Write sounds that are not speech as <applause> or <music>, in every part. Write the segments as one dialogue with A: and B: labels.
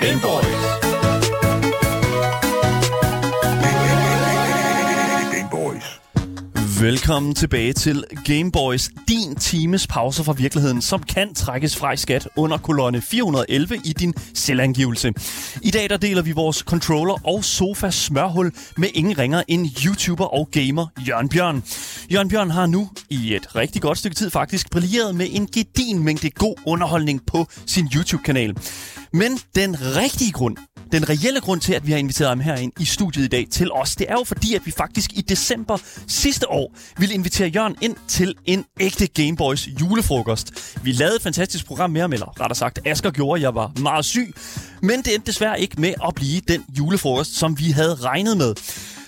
A: Gameboys. Gameboys.
B: Velkommen tilbage til Gameboys, din times pause fra virkeligheden, som kan trækkes fra i skat under kolonne 411 i din selvangivelse. I dag der deler vi vores controller og sofa smørhul med ingen ringer end YouTuber og gamer Jørgen Bjørn. Jørgen Bjørn har nu, i et rigtig godt stykke tid faktisk, brilleret med en gedin mængde god underholdning på sin YouTube-kanal. Men den rigtige grund, den reelle grund til, at vi har inviteret ham herind i studiet i dag til os, det er jo fordi, at vi faktisk i december sidste år ville invitere Jørgen ind til en ægte Gameboys julefrokost. Vi lavede et fantastisk program med ham, eller rettere sagt, Asger gjorde, at jeg var meget syg. Men det endte desværre ikke med at blive den julefrokost, som vi havde regnet med.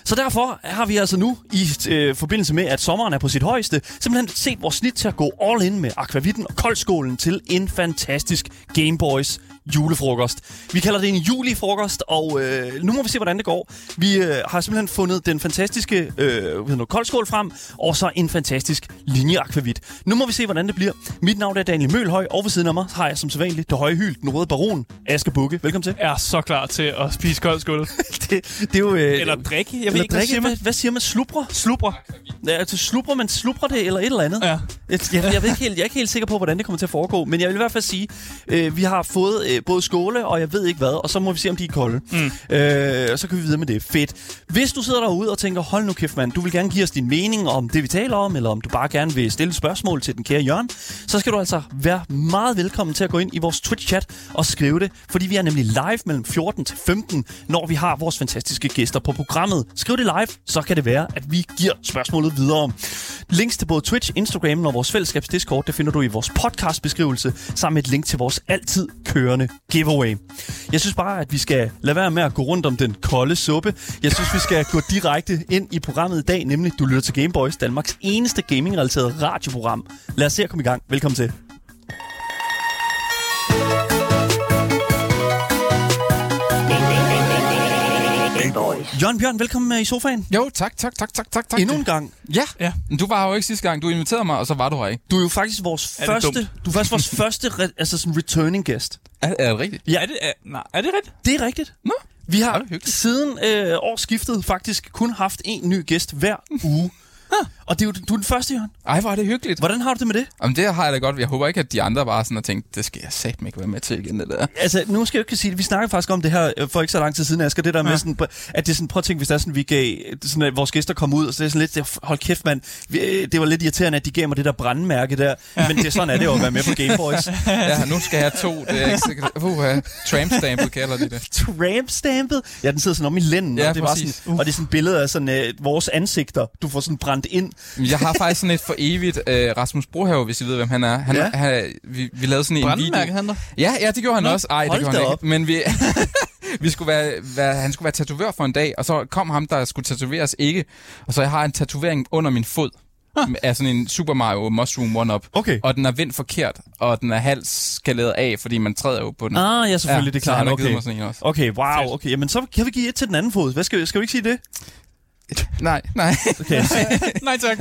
B: Så derfor har vi altså nu, i øh, forbindelse med, at sommeren er på sit højeste, simpelthen set vores snit til at gå all in med akvavitten og koldskålen til en fantastisk Game Boys julefrokost. Vi kalder det en julifrokost, og øh, nu må vi se, hvordan det går. Vi øh, har simpelthen fundet den fantastiske øh, noget, koldskål frem, og så en fantastisk linjeakvavit. Nu må vi se, hvordan det bliver. Mit navn er Daniel Mølhøj, og ved siden af mig har jeg som sædvanligt det høje hyld, den røde baron, Aske Bukke. Velkommen til. <laughs>
C: er så klar til at spise kold skål.
B: Det, det er jo... Øh,
C: Eller drikke. Jeg ved
B: eller
C: ikke, hvad
B: drikke,
C: siger
B: hvad,
C: man?
B: hvad siger man? Slubrer?
C: Slubrer.
B: Ja, altså slubrer man slubrer det, eller et eller andet.
C: Ja.
B: Jeg, jeg, jeg, ved ikke helt, jeg er ikke helt sikker på, hvordan det kommer til at foregå, men jeg vil i hvert fald sige, øh, vi har fået øh, både skåle og jeg ved ikke hvad, og så må vi se, om de er kolde. Mm. Øh, og så kan vi videre med det. Fedt. Hvis du sidder derude og tænker, hold nu kæft mand, du vil gerne give os din mening om det, vi taler om, eller om du bare gerne vil stille spørgsmål til den kære Jørgen, så skal du altså være meget velkommen til at gå ind i vores Twitch-chat og skrive det, fordi vi er nemlig live mellem 14 til 15, når vi har vores fantastiske gæster på programmet. Skriv det live, så kan det være, at vi giver spørgsmålet videre. Links til både Twitch, Instagram og vores fællesskabs Discord, det finder du i vores podcastbeskrivelse, sammen med et link til vores altid kørende giveaway. Jeg synes bare, at vi skal lade være med at gå rundt om den kolde suppe. Jeg synes, vi skal gå direkte ind i programmet i dag, nemlig du lytter til Gameboys, Danmarks eneste gaming-relateret radioprogram. Lad os se at komme i gang. Velkommen til.
A: Gameboys.
B: Jørgen Bjørn, velkommen med i sofaen.
D: Jo, tak, tak, tak, tak, tak, tak.
B: Endnu en gang.
D: Ja.
C: Ja.
D: ja. Men du var jo ikke sidste gang. Du inviterede mig, og så var du her ikke.
B: Du er jo faktisk vores
C: Er det
B: første,
C: dumt?
B: du er faktisk vores første re- altså sådan returning guest.
D: Er, er det rigtigt?
C: Ja. Er det, er, nej, er det rigtigt?
B: Det er rigtigt.
D: Nå.
B: Vi
D: Ej,
B: har
D: hvor hyggeligt.
B: siden øh, årsskiftet faktisk kun haft en ny gæst hver uge. Og det er jo, du er den første, Jørgen.
D: Ej, hvor er det hyggeligt.
B: Hvordan har du det med det?
D: Jamen, det har jeg da godt. Jeg håber ikke, at de andre bare sådan har tænkt, det skal jeg satme ikke være med til igen, det
C: <laughs>
D: der.
B: Altså, nu skal jeg jo ikke sige det. Vi snakkede faktisk om det her øh, for ikke så lang tid siden, Asger. Det der ja. med sådan, at det er sådan, prøv at tænke, hvis der er sådan, vi gav, sådan, at vores gæster kom ud, og så det er sådan lidt, det- hold kæft, mand. Vi, øh, det var lidt irriterende, at de gav mig det der brandmærke der. Ja. Men det, er sådan er det jo at være med på Game
C: <laughs>
B: Boys.
D: Ja, nu skal jeg have to. Det er ikke sikkert. Uh, trampstampet kalder de det.
B: Tramp-stampet. Ja, den sidder sådan om i lænden,
D: Ja,
B: og, det var sådan,
D: præcis.
B: uh. og det er sådan et billede af sådan, øh, vores ansigter. Du får sådan brændt ind.
D: Men Jeg har faktisk sådan et for evigt øh, Rasmus Brohave, hvis I ved, hvem han er. Han,
B: Ja.
D: ja. han, vi, vi lavede sådan en video.
C: Brændmærket han der?
D: Ja, ja, det gjorde han også. Ej, det
B: hold
D: gjorde
B: da
D: han
B: op.
D: ikke. Men vi, <laughs> vi skulle være, være, han skulle være tatovør for en dag, og så kom ham, der skulle tatoveres ikke. Og så jeg har en tatovering under min fod af sådan en Super Mario Mushroom One-Up.
B: Okay.
D: Og den er vendt forkert, og den er halvt skaleret af, fordi man træder jo på den.
B: Ah, ja, selvfølgelig,
D: Ja,
B: det er
D: så han
B: klart.
D: har givet
B: Okay.
D: mig sådan en også.
B: okay, wow.
C: Fedt.
B: Okay, jamen så kan vi give et til den anden fod. Hvad skal, vi- skal vi ikke sige det?
D: <laughs> Nej,
B: <laughs>
D: nej.
B: Okay.
C: Nej, tak.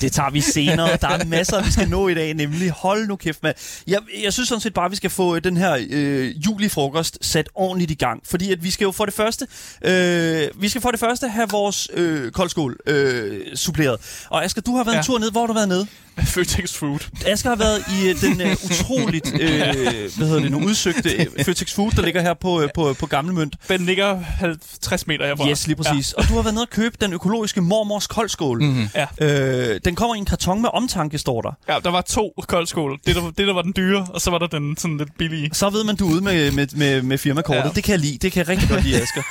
B: det tager vi senere. Der er masser, vi skal nå i dag, nemlig. Hold nu kæft, mand. Jeg, jeg synes sådan set bare, at vi skal få øh, den her øh, julifrokost sat ordentligt i gang. Fordi at vi skal jo for det første, øh, vi skal for det første have vores øh, koldskål øh, suppleret. Og Asger, du har været ja.
C: Ja.
B: en tur ned. Hvor har du været nede?
C: Føtex Food.
B: Asger har været i øh, den øh, utroligt, øh, hvad hedder det nu, udsøgte øh, Føtex Food, der ligger her på, øh, på, på Gamle Mønt.
C: Den ligger 50 meter herfra.
B: Yes, lige præcis. Ja. Og du har været nede og købe den økologiske mormors koldskål. Mm-hmm.
C: Ja.
B: Øh, den kommer i en karton med omtanke, står der.
C: Ja. ja, der var to koldskål. Det der, det, der var den dyre, og så var der den sådan lidt billige.
B: Så ved man, du er ude med, med, med, med firmakortet. Ja.
C: Ja.
B: Det kan jeg lide. Det kan jeg rigtig godt lide, Asger.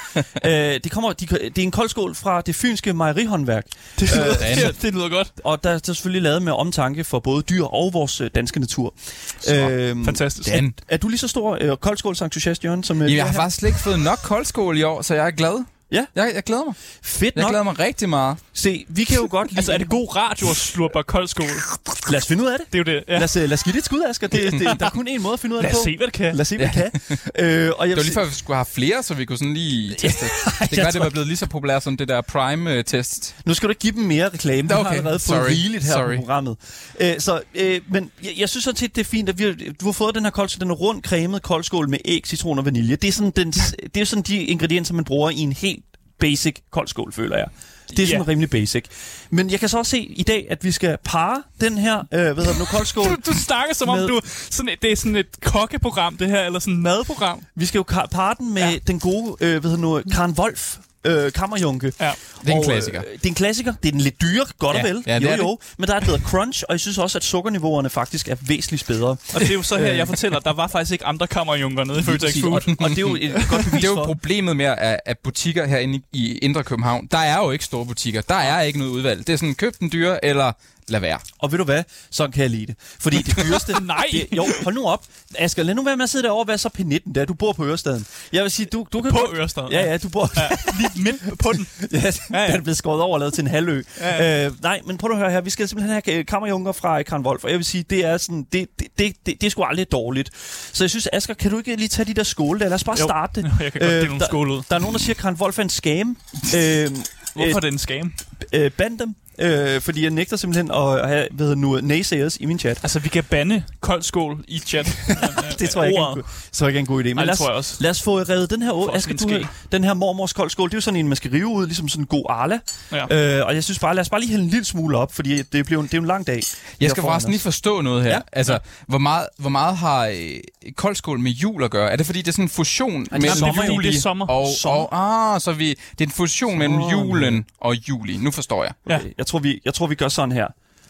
B: øh, det, kommer, de, det er en koldskål fra det fynske mejerihåndværk.
C: Det
B: Øh,
C: lyder, <laughs>
D: damn.
C: ja, det lyder godt.
B: Og der er selvfølgelig lavet med omtanke for både dyr og vores øh, danske natur. Øh,
C: Fantastisk.
D: Dan.
B: er du lige så stor øh, koldskålsentusiast, Jørgen, som øh, du
D: <laughs> Jamen, jeg
B: er
D: har
B: her?
D: faktisk slet ikke fået nok koldskål i år, så jeg er glad.
B: Ja.
D: Jeg, jeg glæder mig.
B: Fedt
D: Jeg
B: nok.
D: glæder mig rigtig meget.
B: Se, vi kan jo <laughs> godt lide...
C: Altså, er det god radio at slurpe kold skål?
B: Lad os finde ud af det.
C: Det er jo det. Ja.
B: Lad os, øh, lad os give det et skud, Asger. Det, det, <laughs> der er kun én måde at finde ud af
C: Lad
B: det
C: os
B: på.
C: se, hvad det kan.
B: Lad os se, hvad ja. kan. Øh, og jeg
D: Det var
B: vil
D: lige
B: sige-
D: før, vi skulle have flere, så vi kunne
B: <laughs>
D: sådan lige teste. det kan
B: jeg
D: være, det
B: tror-
D: var blevet lige så populært som det der øh, Prime-test.
B: Nu skal du ikke give dem mere reklame. Du okay. har
D: Okay,
B: allerede fået
D: sorry,
B: rigeligt her sorry.
D: sorry.
B: på programmet. Æ, så, øh, men jeg, jeg synes sådan set, det er fint, at vi, har- du har fået den her kold, den er rund cremet koldskål med æg, citron og vanilje. Det er sådan, den, det er sådan de ingredienser, man bruger i en helt basic koldskål, føler jeg. Det er sådan
C: Ja.
B: rimelig basic. Men jeg kan så også se i dag, at vi skal parre den her, øh, hvad hedder det nu, <laughs> koldskål.
C: Du, du snakker som om,
B: Med-
C: du sådan, et- det er sådan et kokkeprogram, det her, eller sådan et madprogram.
B: Vi skal jo ka- parre den med ja.
C: Ja.
B: den gode, øh, hvad hedder det nu, Karen Wolf. Øh, kammerjunke.
C: Ja.
D: Det er en
B: Og, øh,
D: klassiker.
B: det er en klassiker. Det er den lidt dyre, godt og
D: Ja,
B: vel.
D: ja, det
B: jo,
D: er det.
B: jo. Men der er et bedre crunch, og jeg synes også, at sukkerniveauerne faktisk er væsentligt bedre.
C: Og det er jo så her, jeg fortæller, at der var faktisk ikke andre kammerjunker nede i Føtex Food.
B: Øh. Og, og det er jo et godt bevis
D: <laughs> Det er jo
B: for.
D: problemet med, at, at butikker herinde i- i Indre København, der er jo ikke store butikker. Der er ikke noget udvalg. Det er sådan, køb den dyre, eller lad være.
B: Og ved du hvad? Sådan kan jeg lide det. Fordi det dyreste...
D: <laughs>
C: Nej.
B: Det, jo, hold nu op. Asger, lad nu være med at sidde derovre og være så penitten der. Du bor på Ørestaden. Jeg vil sige, du, du kan
C: På
B: godt...
C: Ørestaden,
B: Ja,
C: ja.
B: ja, du bor... Ja.
C: Lige midt på den.
B: <laughs> Ja,
C: ja.
B: den blev skåret over og lavet til en halvø. Ja. Øh, nej, men prøv at høre her. Vi skal simpelthen have øh, kammerjunker fra øh, Karen Wolf, og jeg vil sige, det er sådan, det, det, det, det, det er sgu aldrig dårligt. Så jeg synes, Asger, kan du ikke lige tage de der skåle der? Lad os bare
C: Jo.
B: starte det.
C: <laughs>
B: Øh,
C: Jeg kan godt dele nogle
B: der,
C: skåle ud.
B: Der er nogen, der siger, at Karen Wolf er en
C: <laughs>
B: scam. øh,
C: Hvorfor er det en scam?
B: øh, band dem, øh, fordi jeg nægter simpelthen at have hvad hedder nu, naysayers i min chat.
C: Altså, vi kan bande kold skål i
B: <laughs>
C: chat. øh,
B: Det tror jeg, ikke er, en,
C: Ordet.
B: god- tror jeg ikke er en god idé. Men
C: Ej, det
B: lad, os,
C: tror jeg også.
B: lad os få revet den her ud.
C: Fuck,
B: Asger,
C: min
B: du,
C: ske.
B: den her mormors koldskål, det er jo sådan en, man skal rive ud, ligesom sådan en god arla.
C: Ja.
B: Øh, og jeg synes bare, lad os bare lige hælde en lille smule op, fordi det, bliver, en- det er jo en lang dag.
D: Jeg skal
B: foran
D: forresten lige
B: os.
D: forstå noget her.
B: Ja.
D: Ja. Altså, hvor meget, hvor meget har øh, koldskål med jul at gøre? Er det fordi, det er sådan en fusion
B: er
D: mellem
B: sommer jo.
D: juli
C: Det er sommer.
D: og...
B: Sommer.
D: og ah, så vi, det er en fusion mellem julen og juli. Nu forstår jeg.
C: Ja.
B: Jeg tror, vi, jeg tror, vi gør sådan her.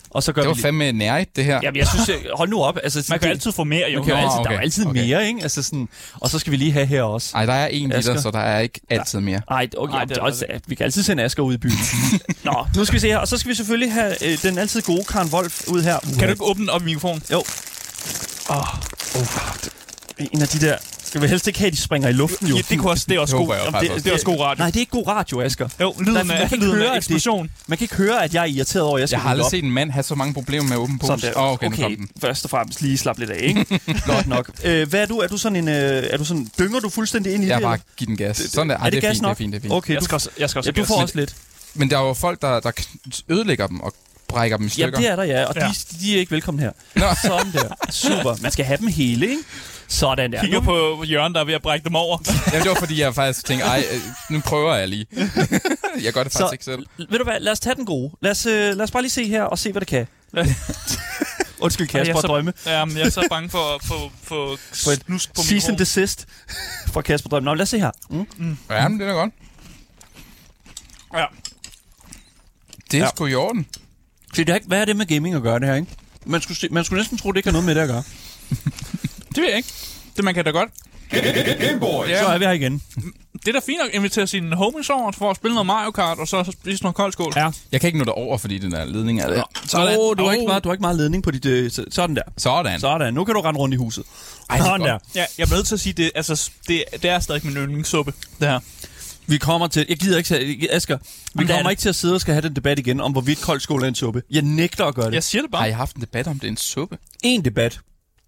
B: Og så gør
D: Det var
B: vi
D: fandme nærigt, det her.
B: Jamen, jeg synes, jeg, hold nu op. Altså,
C: Man kan
B: det-
C: altid få mere, jo.
B: man kan jo
D: Nå,
B: altid, okay. altså, Der er
D: okay,
B: jo altid
D: okay.
B: mere, ikke? Altså sådan, og så skal vi lige have her også.
D: Ej, der er en liter,
B: Asger.
D: så der er ikke altid mere.
B: Ej, okay, Ej,
C: Ej,
B: det,
C: det
B: det
C: er
B: er også, at vi kan altid sende Asger ud i byen.
C: <laughs>
B: Nå, nu skal vi se her. Og så skal vi selvfølgelig have øh, den altid gode Karen Wolf ud her.
C: Kan du ikke åbne op mikrofonen?
B: Jo. Oh. En af de der... Skal vi helst ikke have, at de springer i luften, jo?
C: Ja, det, kunne også, det er også
D: Det
C: god.
D: håber jeg jo
C: Jamen,
D: faktisk
C: det,
D: også.
C: det er også god radio.
B: Nej, det er ikke god radio, Asger.
C: Jo, lyden
B: Der- man
C: af-
B: kan ikke
C: lyden
B: høre,
C: af
B: at det-
C: eksplosion.
B: Man kan ikke høre, at jeg er irriteret over, at jeg skal
D: Jeg har
B: rydde
D: aldrig
B: op.
D: set en mand have så mange problemer med åben
B: Sådan
D: pose.
B: der.
D: Åh, okay, nu kom
B: okay
D: den.
B: først og fremmest lige slap lidt af,
D: <laughs>
B: ikke? Godt nok. Øh, hvad er du? Er du sådan en... Øh, er du sådan, dynger du fuldstændig ind i
D: Jeg
B: det?
D: bare
B: eller?
D: give den gas. Sådan der. Ej,
B: er det,
D: det er
B: gas
D: fint, det
B: nok?
D: er fint, det er fint.
B: Okay,
C: Jeg
B: du,
C: skal også, jeg skal også
B: ja, du
C: have
B: får
C: gas.
B: også lidt.
D: Men der er jo folk, der, der kn- ødelægger dem og brækker dem i
B: Jamen,
D: stykker.
B: det er der, ja. Og ja.
C: Ja.
B: De, de er ikke velkomne her.
D: Nå.
B: Sådan der. Super. Man skal have dem hele, ikke? Sådan der.
C: Kigger
B: Nu-
C: på Jørgen, der er ved at brække dem
B: <laughs>
C: over.
D: Jamen, det var fordi, jeg faktisk tænkte, ej, øh, nu prøver jeg lige. <laughs> jeg gør det faktisk
B: Så-
D: ikke selv.
B: Ved du hvad, lad os tage den gode. Lad os, øh, lad os bare lige se her og se, hvad det <laughs> kan. Undskyld,
C: Ej, jeg
B: Kasper
C: er
B: og
C: så-
B: Drømme.
C: Ja, men jeg er så bange for at få, få snusk på
B: Season
C: mikrofonen.
B: desist <laughs> fra Kasper Drømme. Nå, men lad os se her. Mm.
D: Ja, men det er da godt.
C: Ja.
D: Det er
B: Ja.
D: ja. sgu i orden.
B: Så det har ikke, hvad er det med gaming at gøre, det her, ikke? Man skulle, se, man skulle næsten tro, det ikke har noget med det at gøre.
C: Det ved jeg ikke. Det man kan da godt.
B: Ja. Så er vi her igen.
C: Det er da fint at invitere sine homies over for at spille noget Mario Kart, og så spise noget kold skål.
B: Ja.
D: Jeg kan ikke nå det over, fordi den der ledning er der.
B: Sådan. Oh, du, har ikke
C: Åh.
B: meget, du har ikke meget ledning på dit... Øh, så- sådan der.
D: Sådan. Så.
B: Sådan. Nu kan du rende rundt i huset. Ej,
D: det er
B: sådan
D: godt.
B: der.
C: ja jeg er nødt til at sige, det, altså, det, det er stadig min yndlingssuppe, det her.
B: Vi kommer til... Jeg gider ikke... tage- Asger, vi
C: Jamen, det er
B: kommer
C: det.
B: ikke til at sidde og skal have den debat igen om, hvorvidt kold skål er en suppe. Jeg nægter at gøre
C: Jeg
B: det.
C: siger det bare.
D: Har I haft en debat om, det er en suppe?
B: En debat.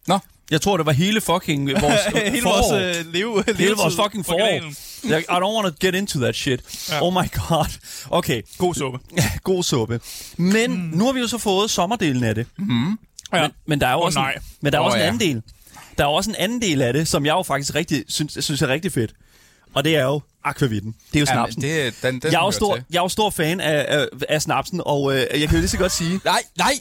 D: Nå,
B: Jeg tror, det var hele fucking øh, <laughs>
D: <laughs>
B: vores øh,
C: Hele
B: forår.
C: vores øh, leve,
B: Hele vores fucking forår. Like, I don't want to get into that shit. Ja.
C: Ja.
B: Oh my god. Okay,
C: God suppe.
B: ja, god suppe. Men mm. nu har vi jo så fået sommerdelen af det. Mm.
C: Ja.
B: Men, men der er jo
C: Åh,
B: også,
C: nej.
B: en, men der er
D: Åh,
B: også en
D: ja.
B: anden del. Der er også en anden del af det, som jeg jo faktisk rigtig, synes, synes er rigtig fedt. Og det er jo akvavitten. Det er jo
D: Jamen,
B: snapsen.
D: det, den, den
B: jeg, er jo
D: hører
B: stor,
D: til.
B: jeg er jo stor fan af, af, af snapsen, og øh, jeg kan jo lige så godt sige...
D: Nej, nej!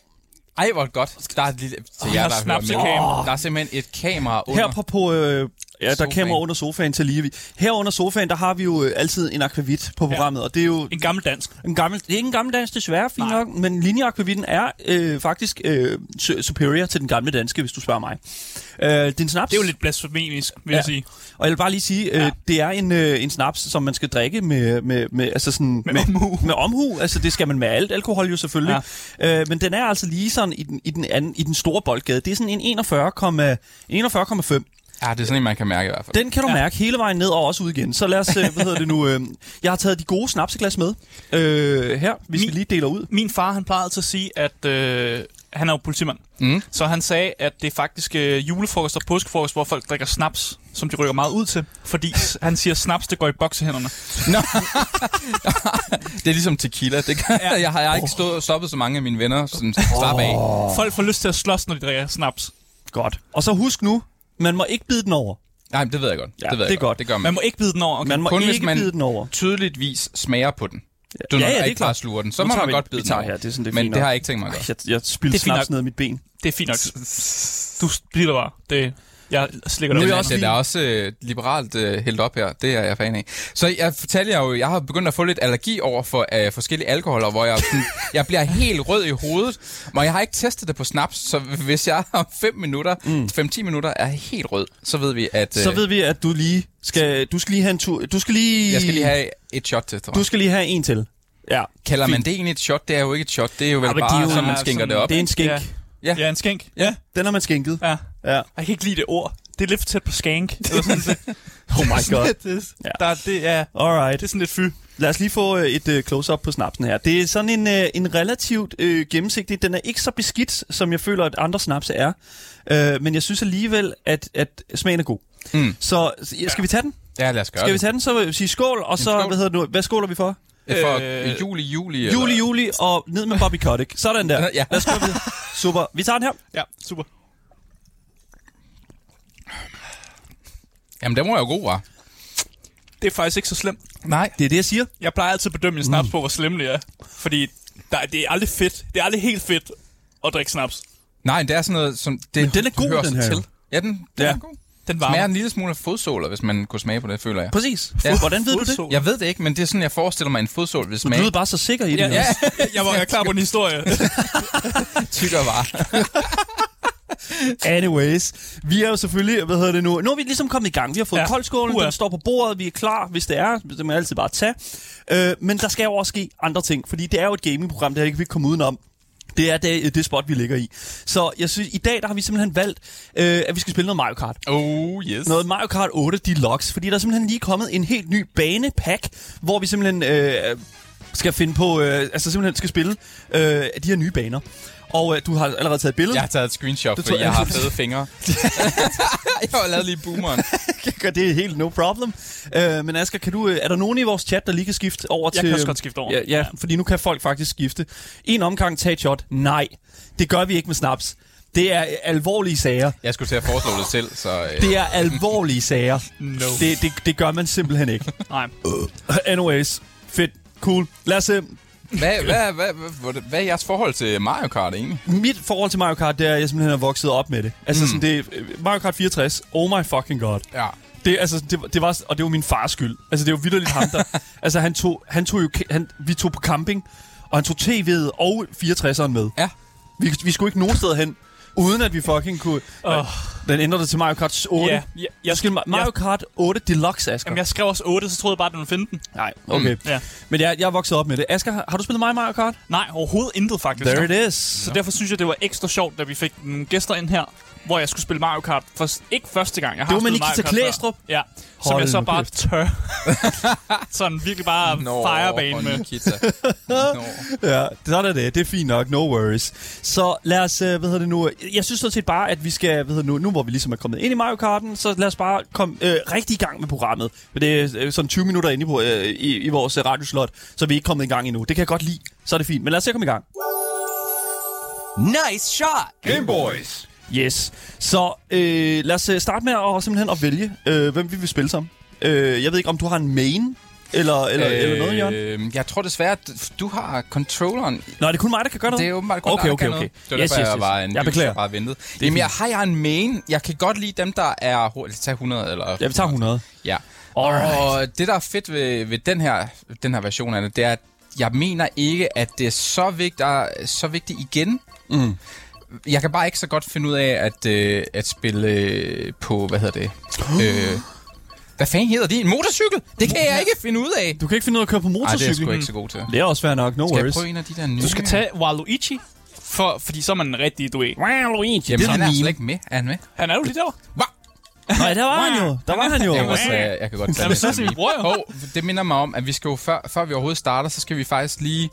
D: Ej, hvor godt. Der er et lille... Til
C: der
D: jer,
C: er
D: der, der,
C: snaps i
D: hører med.
C: kameraet.
D: der er simpelthen et kamera under.
B: Her på, på øh, ja, der er
D: Sofaen.
B: kamera under sofaen til lige. Her under sofaen, der har vi jo øh, altid en akvavit på programmet, ja. og det er jo
C: En gammel dansk.
B: En gammel, det er ikke en gammel dansk, desværre, fint
C: Nej.
B: nok, men linjeakvavitten er øh, faktisk øh, su- superior til den gamle danske, hvis du spørger mig. Øh, din snaps,
C: Det er jo lidt blasfemisk, vil ja. jeg sige.
B: Og jeg vil bare lige sige, øh, ja. det er en, øh, en snaps, som man skal drikke med, med, med, altså sådan, med,
C: omhu.
B: med omhu. Altså det skal man med alt alkohol jo selvfølgelig. Ja. Øh, men den er altså lige sådan i den, i den, anden, i den store boldgade. Det er sådan en 41,5. 41,5.
D: Ja, det er sådan en, man kan mærke i hvert fald.
B: Den kan du ja. mærke hele vejen ned og også ud igen. Så lad os, øh, hvad hedder det nu, øh, jeg har taget de gode snapseglas med øh, her, hvis
C: Min-
B: vi lige deler ud.
C: Min far, han plejede altid at sige, at øh, han er jo politimand.
D: Mm.
C: Så han sagde, at det er faktisk øh, julefrokost og påskefrokost, hvor folk drikker snaps, som de rykker meget ud til. Fordi
D: <laughs>
C: s- han siger, snaps, det går i boksehænderne.
D: Nå. det er ligesom tequila. Det kan,
C: Ja.
D: <laughs> jeg har jeg har ikke stået, stoppet så mange af mine venner. Sådan, slap af.
C: Folk får lyst til at slås, når de drikker snaps.
B: Godt. Og så husk nu, man må ikke bide den over.
D: Nej, men det ved jeg godt.
B: Ja,
D: det, ved jeg
B: det er godt.
D: godt. Det gør man.
C: Man må ikke bide den over. Okay.
B: Man må
D: kun hvis
B: ikke
D: man-
B: bide den over.
D: tydeligvis smager på den. Du
B: Ja,
D: når
B: ja, det er
D: ikke bare
B: klart.
D: sluger den. Så
B: Nu
D: må
B: tager
D: man
B: vi-
D: godt bide
B: vi
D: den
B: tager
D: over.
B: her, det er sådan, det er
D: Men
B: fint
D: det har
B: nok.
D: jeg ikke tænkt mig at gøre.
B: Jeg, jeg spildte
C: Det er fint
B: snaps
C: nok.
B: ned af mit ben.
C: Det er fint nok. Du spiller bare. Det, jeg slikker
D: Men
B: vil
C: dig.
D: det
B: jeg
D: er
B: også
D: også, det er
B: lige-
D: også øh, liberalt øh, hældt op her. Det er jeg fan af. Så jeg fortalte jer jo, jeg har begyndt at få lidt allergi over for øh, forskellige alkoholer, hvor
B: <laughs>
D: jeg, sådan, jeg bliver helt rød i hovedet. Men jeg har ikke testet det på snaps, så hvis jeg <laughs> om 5 minutter, 5-10 minutter er helt rød, så ved vi, at øh,
B: Mm. Så ved vi, at du lige skal, du skal lige have en tur. Du skal lige,
D: jeg skal lige have et shot til, tror
B: du
D: jeg.
B: skal lige have en til. Ja.
D: Kalder man det egentlig et shot? Det er jo ikke et shot, det er jo vel
B: Ja, men det
D: bare,
B: er jo-
D: sådan, man
C: Ja,
D: skænker
C: sådan-
D: det op.
B: Det er en skænk.
C: Ja.
B: Ja.
D: Ja.
C: Ja, en skænk.
D: Ja.
B: Den har man skænket.
C: Ja.
B: ja.
C: Jeg kan ikke lide det ord. Det er lidt for tæt på
B: <laughs>
C: skank. Eller sådan, det,
B: Oh my god.
C: det,
B: Ja.
C: der, det, er,
B: Alright.
C: det er sådan lidt fy.
B: Lad os lige få øh, et øh, close-up på snapsen her. Det er sådan en, øh, en relativt øh, gennemsigtig. Den er ikke så beskidt, som jeg føler, at andre snaps er. Øh, men jeg synes alligevel, at, at smagen er god.
D: Mm.
B: Så ja, skal vi tage den?
D: Ja, lad os gøre
B: Skal vi
D: det.
B: tage den, så vil jeg sige skål, og så,
D: skål.
B: hvad hedder det nu, hvad skåler vi for?
D: Det er For
C: Øh,
D: øh, juli, juli. eller-
B: Juli, juli, og ned med Bobby Kotick. Sådan der.
D: Ja.
B: Lad os gå videre. Super. Vi tager den her.
C: Ja, super.
D: Jamen, den var jo god, var.
C: Det er faktisk ikke så slemt.
D: Nej.
B: Det er det, jeg siger.
C: Jeg plejer altid at bedømme min
B: Mm.
C: snaps på, hvor slem det er. Fordi der, det er aldrig fedt. Det er aldrig helt fedt at drikke snaps.
D: Nej, det er sådan noget, som det
B: Men den er god,
D: hører
B: den
D: sig
B: her.
D: Til. Ja, den, den
B: Ja.
D: ja. er god.
C: Den
D: Smager
C: varmer.
D: en lille smule af fodsåler, hvis man kunne smage på det, føler jeg.
B: Præcis.
D: Ja.
B: Hvordan ved du det?
C: Fodsål.
D: Jeg ved det ikke, men det er sådan, jeg forestiller mig en fodsål, hvis
B: Du
D: man
B: lyder bare så sikker i det.
C: Ja,
B: også.
C: ja. <laughs> jeg var jeg er klar på en
B: <laughs>
C: historie.
D: <laughs> tykker var.
B: Anyways, vi er jo selvfølgelig, hvad hedder det nu, nu er vi ligesom kommet i gang. Vi har fået
C: Ja.
B: ja. koldskålen,
C: Uha.
B: den står på bordet, vi er klar, hvis det er. Det må jeg altid bare tage. Øh, men der skal jo også ske andre ting, fordi det er jo et gamingprogram, det er ikke vi kan komme udenom. Det er det, det spot, vi ligger i. Så jeg synes, i dag der har vi simpelthen valgt, øh, at vi skal spille noget Mario Kart.
D: Oh, yes.
B: Noget Mario Kart 8 Deluxe, fordi der er simpelthen lige kommet en helt ny banepack, hvor vi simpelthen øh, skal finde på, øh, altså simpelthen skal spille øh, de her nye baner. Og øh, du har allerede taget et billede.
D: Jeg
B: <laughs>
D: har taget et screenshot,
B: Det
D: fordi
B: tror
D: jeg
B: jeg.
D: <laughs> har fede fingre. jeg har lavet lige boomeren.
B: Gør det er helt no problem. Øh, men Asger, kan du, øh, er der nogen i vores chat, der lige kan skifte over
C: Jeg
B: til...
C: kan også godt skifte over.
B: Ja, ja, fordi nu kan folk faktisk skifte. En omgang, tag et shot. Nej, det gør vi ikke med snaps. Det er øh, alvorlige sager.
D: Jeg skulle til at foreslå det selv, så... Øh,
B: Det er alvorlige sager.
C: <laughs> No.
B: Det, det, det gør man simpelthen ikke.
C: <laughs> Nej.
B: Øh. Anyways, fedt, cool. Lad os, øh,
D: hvad, hvad, hvad, hvad, hvad, hvad er jeres forhold til Mario Kart egentlig?
B: mit forhold til Mario Kart, det er, at jeg simpelthen er vokset op med det. Altså mm. sådan, det øh, Mario Kart 64, oh my fucking god.
D: Ja.
B: Det, altså, det, det var, og det var min fars skyld. Altså, det var vidderligt ham, der...
C: <laughs>
B: altså, han tog, han tog jo... ke- Han, vi tog på camping, og han tog tv'et og 64'eren med.
D: Ja.
B: Vi, vi skulle ikke nogen steder hen, uden at vi fucking kunne...
C: Åh.
B: Oh. Den ændrer det til Mario Kart 8.
C: Ja, ja, jeg-
B: jeg, skal, Mario
C: jeg-
B: Kart 8 Deluxe, Asger.
C: Jamen, jeg skrev også 8, så troede jeg bare, at den ville finde den.
B: Nej, okay. Mm.
C: Ja.
B: Men jeg, jeg er vokset op med det. Asger, har, har du spillet meget Mario Kart?
C: Nej, overhovedet intet faktisk.
B: There it is.
C: Så derfor synes jeg, det var ekstra sjovt, da vi fik nogle gæster ind her, hvor jeg skulle spille Mario Kart. For, ikke første gang, jeg har
B: Det var med
C: spillet Mario
B: Nikita
C: Kart før.
B: Klæstrup.
C: Ja, som
B: Hold
C: jeg så
B: nu
C: bare
B: kæft.
C: tør. <laughs> Sådan virkelig bare firebane med.
D: Nikita. Nå.
B: Ja, sådan er det. Det er fint nok. No worries. Så lad os, øh, hvad hedder det nu? Jeg synes sådan set bare, at vi skal, hvad hedder det nu, nu hvor vi ligesom er kommet ind i Mario Karten, så lad os bare komme øh, rigtig i gang med programmet. For det er øh, sådan 20 minutter inde i, pro- øh, i, i vores øh, radioslot, så vi er ikke kommet i gang endnu. Det kan jeg godt lide. Så er det fint. Men lad os se at komme i gang.
E: Nice shot!
A: Game Boys.
B: Yes. Så øh, lad os øh, starte med at, simpelthen at vælge, øh, hvem vi vil spille som. Øh, jeg ved ikke, om du har en main, eller, <laughs> eller, øh, eller noget, Jørgen?
D: øh, jeg tror desværre, at du har controlleren
B: Nå, det er kun mig, der kan gøre noget.
D: Det er åbenbart kun
B: okay,
D: dig, der
B: okay,
D: kan
B: okay.
D: noget. Det var yes, derfor, yes, jeg var en
B: jeg
D: lys,
B: beklager.
D: der bare ventede. Jamen, jeg har jeg en main. Jeg kan godt lide dem, der er... hurtigt. Tag 100 eller...
B: Ja, vi tager 100.
D: Ja.
B: Alright.
D: Og det, der er fedt ved, ved den, her, den her version af det, det er, at jeg mener ikke, at det er så vigtigt, er så vigtigt igen. Mm. Jeg kan bare ikke så godt finde ud af at, øh, at spille øh, på, hvad
B: <gasps>
D: hedder det? øh, hvad fanden hedder det? En motorcykel? Det kan jeg ikke finde ud af.
B: Du kan ikke finde ud af at køre på
D: Nej, det er jeg
B: motorcykel.
D: sgu ikke så god til.
B: Det er også fair nok, no
D: Skal jeg
B: worries.
D: prøve en af de der nye?
C: Du skal tage Waluigi, for, fordi så er man en rigtig, du ved. Waluigi.
D: Jamen,
B: Det er
D: han er
B: meme.
D: slet ikke med. Er han med?
C: Han er jo lige der.
D: Hva?
B: Nej, der var han jo. Der var han jo.
D: Jeg, må, jeg, jeg kan godt tage
C: Jamen, så
D: det.
C: siger vi, bror jo.
D: Og det minder mig om, at vi skal jo før, før vi overhovedet starter, så skal vi faktisk lige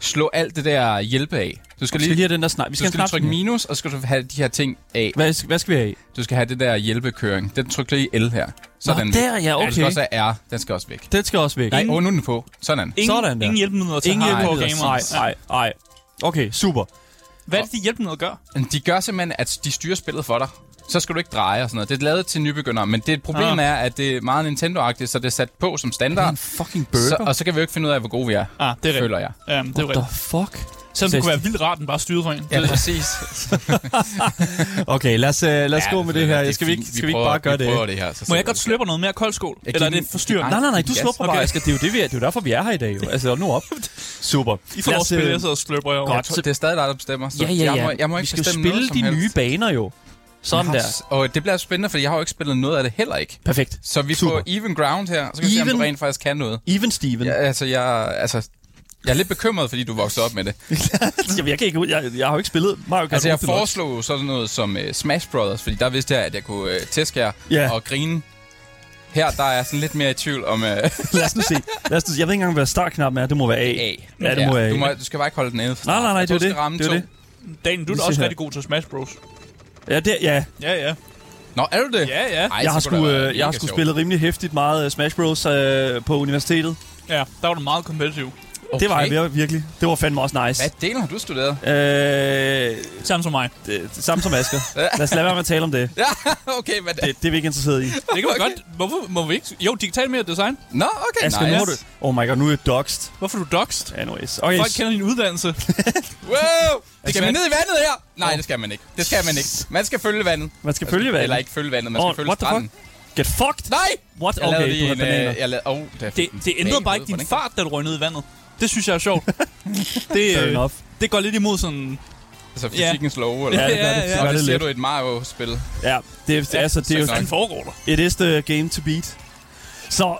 D: slå alt det der hjælpe af. Du skal
B: Vi skal lige
D: lige,
B: have den der snak. Vi
D: du skal
B: skal,
D: lige
B: have
D: trykke
B: trykke min.
D: minus, og så skal du have de her ting af.
B: Hvad, hvad skal vi have?
D: Du skal have det der hjælpekøring. Den trykker lige L her. Sådan.
B: Nå, der, ja,
D: Ja, du skal
B: okay.
D: også have R. Den skal også væk.
B: Den skal også væk.
D: Nej, åh, nu er den på. Sådan.
C: Ingen,
B: Sådan der.
C: ingen hjælpemidler til
B: Ingen
C: hardcore
B: hjælp.
C: gamere.
B: Nej, nej, nej. Okay, super.
C: Hvad er det, de hjælpemidler gør?
D: De gør simpelthen, at de styrer spillet for dig. Så skal du ikke dreje og sådan noget. Det er lavet til nybegyndere, men det problem
C: Ah.
D: er, at det er meget Nintendo-agtigt, så det er sat på som
B: Det er
D: standard.
B: en fucking burger.
D: Så, og så kan vi jo ikke finde ud af, hvor gode vi er.
C: Ah, det er rigtigt.
D: føler jeg.
C: Ja, det er
B: What the
C: rigtigt.
B: fuck?
C: Selvom det kunne være vildt rart, den bare styrede for en.
D: Ja, præcis.
B: Okay, lad os, uh, lad os
D: Ja, altså,
B: gå med det her. Jeg skal vi
D: er
B: ikke,
D: fint.
B: skal vi ikke
D: prøver-
B: bare gøre
D: vi
B: det?
D: prøver det her, så
C: Må
D: ser
C: jeg
D: vi.
C: godt sløbe noget mere kold skål? Eller er
D: giver
C: det
D: den-
C: forstyrrende?
B: Nej, nej, nej, du
D: Yes,
B: slupper bare,
C: okay.
B: Asger. Altså, Det er jo det, vi er. Det er jo derfor, vi er her i dag. Jo. Altså, nu
D: <laughs>
B: op. Super.
C: I får
B: Lad
C: lov
B: os,
C: at spille,
B: øh,
C: jeg sidder og sløber jer over.
B: godt.
D: Så det er stadig dig, der bestemmer. Så
B: Ja, ja, ja.
D: altså. Jeg må, jeg må ikke
B: vi skal jo
D: bestemme
B: spille
D: noget som
B: de
D: helst.
B: nye baner jo. Sådan der.
D: Yes. Og det bliver spændende, for jeg har jo ikke spillet noget af det heller ikke.
B: Perfekt.
D: Så vi
B: Super.
D: får even ground her, så kan vi se, om du
B: Even-
D: rent faktisk kan noget.
B: Even Steven.
D: Ja, altså, jeg, altså, jeg er lidt bekymret, fordi du voksede op
B: <laughs>
D: med det.
B: Jamen, jeg kan ikke ud. Jeg, jeg har jo ikke spillet Mario Kart.
D: Altså, jeg
B: Deluxe.
D: foreslog jo sådan noget som uh, Smash Brothers, fordi der vidste jeg, at jeg kunne uh, tæske jer
B: Ja.
D: og grine. Her, der er jeg sådan lidt mere i tvivl om uh,
B: Lad os nu se. Lad os nu se. Jeg ved ikke engang, hvad startknappen er. Det må være A.
D: <laughs> A.
B: Ja, det må være A.
D: du, må, du skal bare ikke holde den ene. fra
B: Nej,
D: start.
B: nej, nej, det
D: Du
B: er jo
D: skal
B: det.
D: ramme
B: Det er jo
D: to.
B: det.
C: Dan, du er da
B: Lige
C: også
B: se her.
C: rigtig god til Smash Bros.
B: Ja, det, ja.
C: Ja, ja.
D: Nå, er du det?
C: Ja, ja.
D: Ej,
B: jeg har
D: så kunne det
B: sgu,
D: have været
B: øh, jeg har
D: mega
B: sgu
D: sjovt.
B: spillet rimelig hæftigt meget øh, Smash Bros. Øh, på universitetet.
C: Ja, der var du meget kompetitiv.
D: Okay.
B: Det var jeg vir- virkelig. Det var fandme også nice.
D: Hvad del har du studeret?
B: Øh,
C: Samme som mig.
B: det- samme som Asger. Lad os lade være med at tale om det.
D: Ja, <laughs> okay, hvad det?
B: Det, det er vi ikke interesseret
D: <laughs>
B: i.
C: Det kan vi
D: Okay.
C: godt. Hvorfor må vi ikke? Jo, digital mere design.
D: Nå, okay,
B: Asger, nu
D: nice.
B: har du... Oh my god, nu er jeg doxed.
C: Hvorfor er du doxed?
B: Anyways. Okay,
C: Folk kender din uddannelse.
D: Wow! Det skal
C: man-
D: man ned i vandet her? Nej, det skal man ikke. Det skal man ikke. Man skal følge vandet.
B: man skal følge hvad?
D: Eller ikke følge vandet, man skal
B: Åh,
D: følge
B: what the
D: stranden.
B: fuck? Get fucked!
D: <laughs> Nej!
B: What?
D: Jeg lavede
B: Okay, du
D: lige
B: har
D: en... øh,
B: bananer.
D: jeg lavede, oh, der
C: Det, det ændrede bare ikke din fart, da du røg ned i vandet. Det synes jeg er
D: <laughs>
C: sjovt. Det,
B: Fair
C: øh,
B: enough.
C: det går lidt imod sådan...
D: Altså fysikkens lov, eller
B: Ja,
D: hvad?
B: det gør det.
C: Ja,
B: Det
C: ja,
B: gør
D: Og
B: det
D: det ser
B: lidt.
D: du i et Mario-spil.
B: Ja, det, er- altså, det er jo...
D: så
C: Hvad foregår der?
B: It is the game to beat. Så...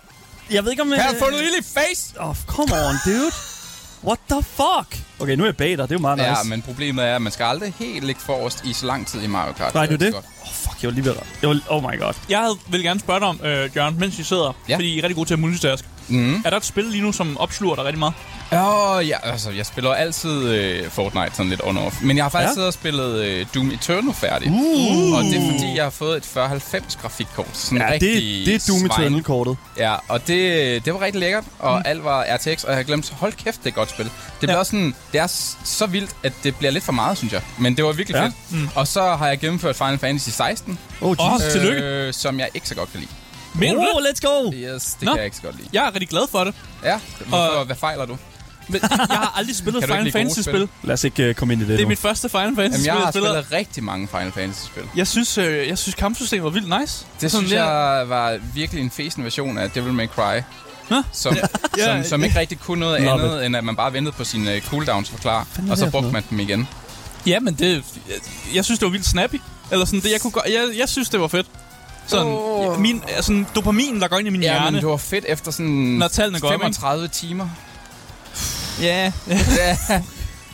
B: Jeg ved ikke om...
D: Her har
B: øh,
D: fundet ild i face!
B: Oh, come on, dude. What the fuck? Okay, nu er jeg bag dig. Det er jo meget nice.
D: Ja, men problemet er, at man skal aldrig helt ligge forrest i så lang tid i Mario Kart.
B: Nej, det er
D: så
B: det.
D: godt.
B: Oh, fuck, jeg var lige ved at... Jeg var, oh my god.
C: Jeg havde, vil gerne spørge dig om, øh, Jørgen, mens I sidder,
D: Ja.
C: fordi I er rigtig gode til at multitask.
D: Mhm.
C: Er der et spil lige nu, som opsluger dig rigtig meget?
D: Åh, oh, ja, altså, jeg spiller altid øh, Fortnite sådan lidt on-off. Men jeg har faktisk
B: Ja.
D: ja? siddet og spillet øh, Doom Eternal færdig.
B: Uh.
D: Og det er fordi, jeg har fået et 4090 grafikkort. Sådan
B: Ja,
D: rigtig
B: det, det er Doom
D: svin.
B: Eternal-kortet. Oh,
D: Ja, og det, det var rigtig lækkert, og mm. alt var RTX, og jeg glemte, hold kæft, det er et godt spil. Det bliver også sådan, det er s- så vildt, at det bliver lidt for meget, synes jeg. Men det var virkelig
B: Ja.
D: ja. fedt. Mm. Og så har jeg gennemført Final Fantasy 16,
B: Oh, Jesus.
C: Åh, tillykke.
D: Øh, som jeg ikke så godt kan lide.
C: Mener du
B: Oh,
C: det?
B: let's go!
D: Yes, det
C: Nå.
D: Nå. kan jeg ikke så godt lide.
C: Jeg er rigtig glad for det.
D: Ja, hvorfor, hvad fejler du?
C: Men jeg har aldrig spillet
D: Kan du
C: Final
D: ikke lide gode
C: Fantasy-spil.
B: Lad os ikke uh, komme ind i det,
C: Det
B: nu.
C: er mit første Final
D: Jamen, jeg
C: Fantasy-spil,
D: har
C: jeg spiller.
D: spillet rigtig mange Final Fantasy-spil.
C: Jeg synes, øh, jeg synes kampsystemet var vildt nice. Sådan
D: Det synes
C: der-
D: jeg var virkelig en fesen version af Devil May Cry.
C: Nå?
D: Som,
C: Ja,
D: som, som ikke rigtig kunne noget
B: Love
D: andet, end at man bare ventede på sine øh, cooldowns forklar,
B: er
D: og
B: det her
D: så
B: for
D: brugte man dem igen.
C: Ja, men det... Jeg, jeg synes, det var vildt snappy. Eller sådan, det, jeg, kunne godt, jeg, jeg synes, det var fedt. Sådan,
D: Åh.
C: oh. min, sådan dopamin, der går ind i min
D: Ja,
C: hjerne.
D: men det var fedt efter sådan
C: Når tallene går op, ikke?
D: 35 timer.
C: Ja,
D: Ja.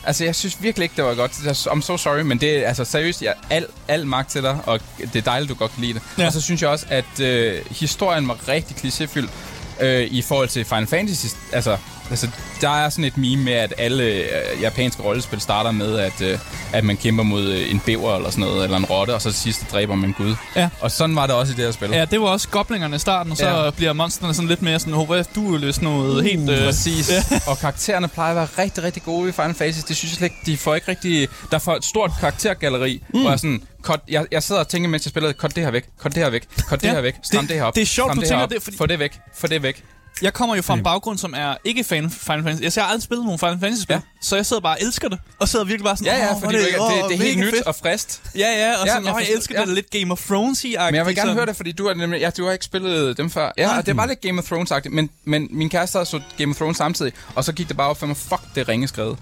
D: altså, jeg synes virkelig ikke, det var godt. I'm so sorry, men det er altså seriøst, jeg al, al magt til dig, og det er dejligt, du godt kan lide det.
C: Ja.
D: Ja. Og så synes jeg også, at øh, historien var rigtig klichéfyldt øh, i forhold til Final Fantasy. Altså, altså, der er sådan et meme med, at alle øh, japanske rollespil starter med, at, øh, at man kæmper mod øh, en bæver eller sådan noget, eller en rotte, og så til sidst dræber man en gud.
C: Ja.
D: Og sådan var det også i det her spil.
C: <laughs> ja, det var også goblingerne i starten, og så ja.
D: Ja.
C: bliver monsterne sådan lidt mere sådan, "Hov, hvad, du er jo sådan noget uh, helt...
D: Øh,
C: Øh,
D: Præcis. og karaktererne plejer at være rigtig, rigtig gode i Final Fantasy. Det synes jeg slet ikke, de får ikke rigtig... Der er for et stort karaktergalleri, mm. hvor jeg sådan... Cut, jeg, jeg sidder og tænker, mens jeg spiller, cut det her væk, cut det her væk, cut det
C: Ja,
D: her væk, stram det,
C: det-
D: det her op,
C: det er sjovt,
D: stram
C: du
D: det her
C: tænker
D: op,
C: det, fordi-
D: få det væk, få det væk.
C: jeg kommer jo fra en baggrund, som er ikke fan Final Fantasy. Altså, jeg har aldrig spillet nogen Final Fantasy-spil, ja.
D: Ja.
C: så jeg sidder bare og elsker det. Og sidder virkelig bare sådan...
D: Ja, ja,
C: "Åh, hvor
D: fordi det, det,
C: åh,
D: det, det er helt
C: mega
D: nyt
C: fedt."
D: og frist.
C: Ja, ja, og
D: Ja,
C: sådan,
D: jeg
C: "Åh, jeg
D: forstår-
C: elsker det
D: ja.
C: det lidt Game of thrones i
D: Men jeg vil gerne høre det, fordi du, er nemlig, ja, du har ikke spillet dem før.
C: Ah.
D: Ja, og det var lidt Game of Thrones-agtigt, men, men min kæreste havde så Game of Thrones samtidig, og så gik det bare op for mig, fuck, det er
C: <laughs>
D: ringe skrevet.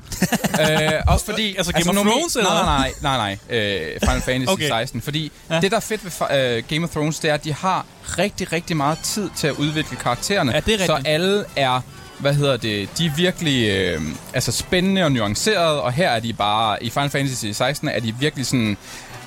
D: øh, også fordi...
C: Altså Game of
D: normalt-
C: Thrones, eller hvad?
D: Nej, nej, nej, nej. Øh, Final Fantasy
C: Okay.
D: okay. 16. Fordi
C: Ja.
D: ja. det, der er fedt ved fa- øh, Game of Thrones, det er, at de har rigtig, rigtig meget tid til at udvikle karaktererne.
C: Ja, det er
D: så
C: rigtigt.
D: alle er hvad hedder det, de er virkelig øh, altså spændende og nuancerede, og her er de bare, i Final Fantasy 16 er de virkelig sådan,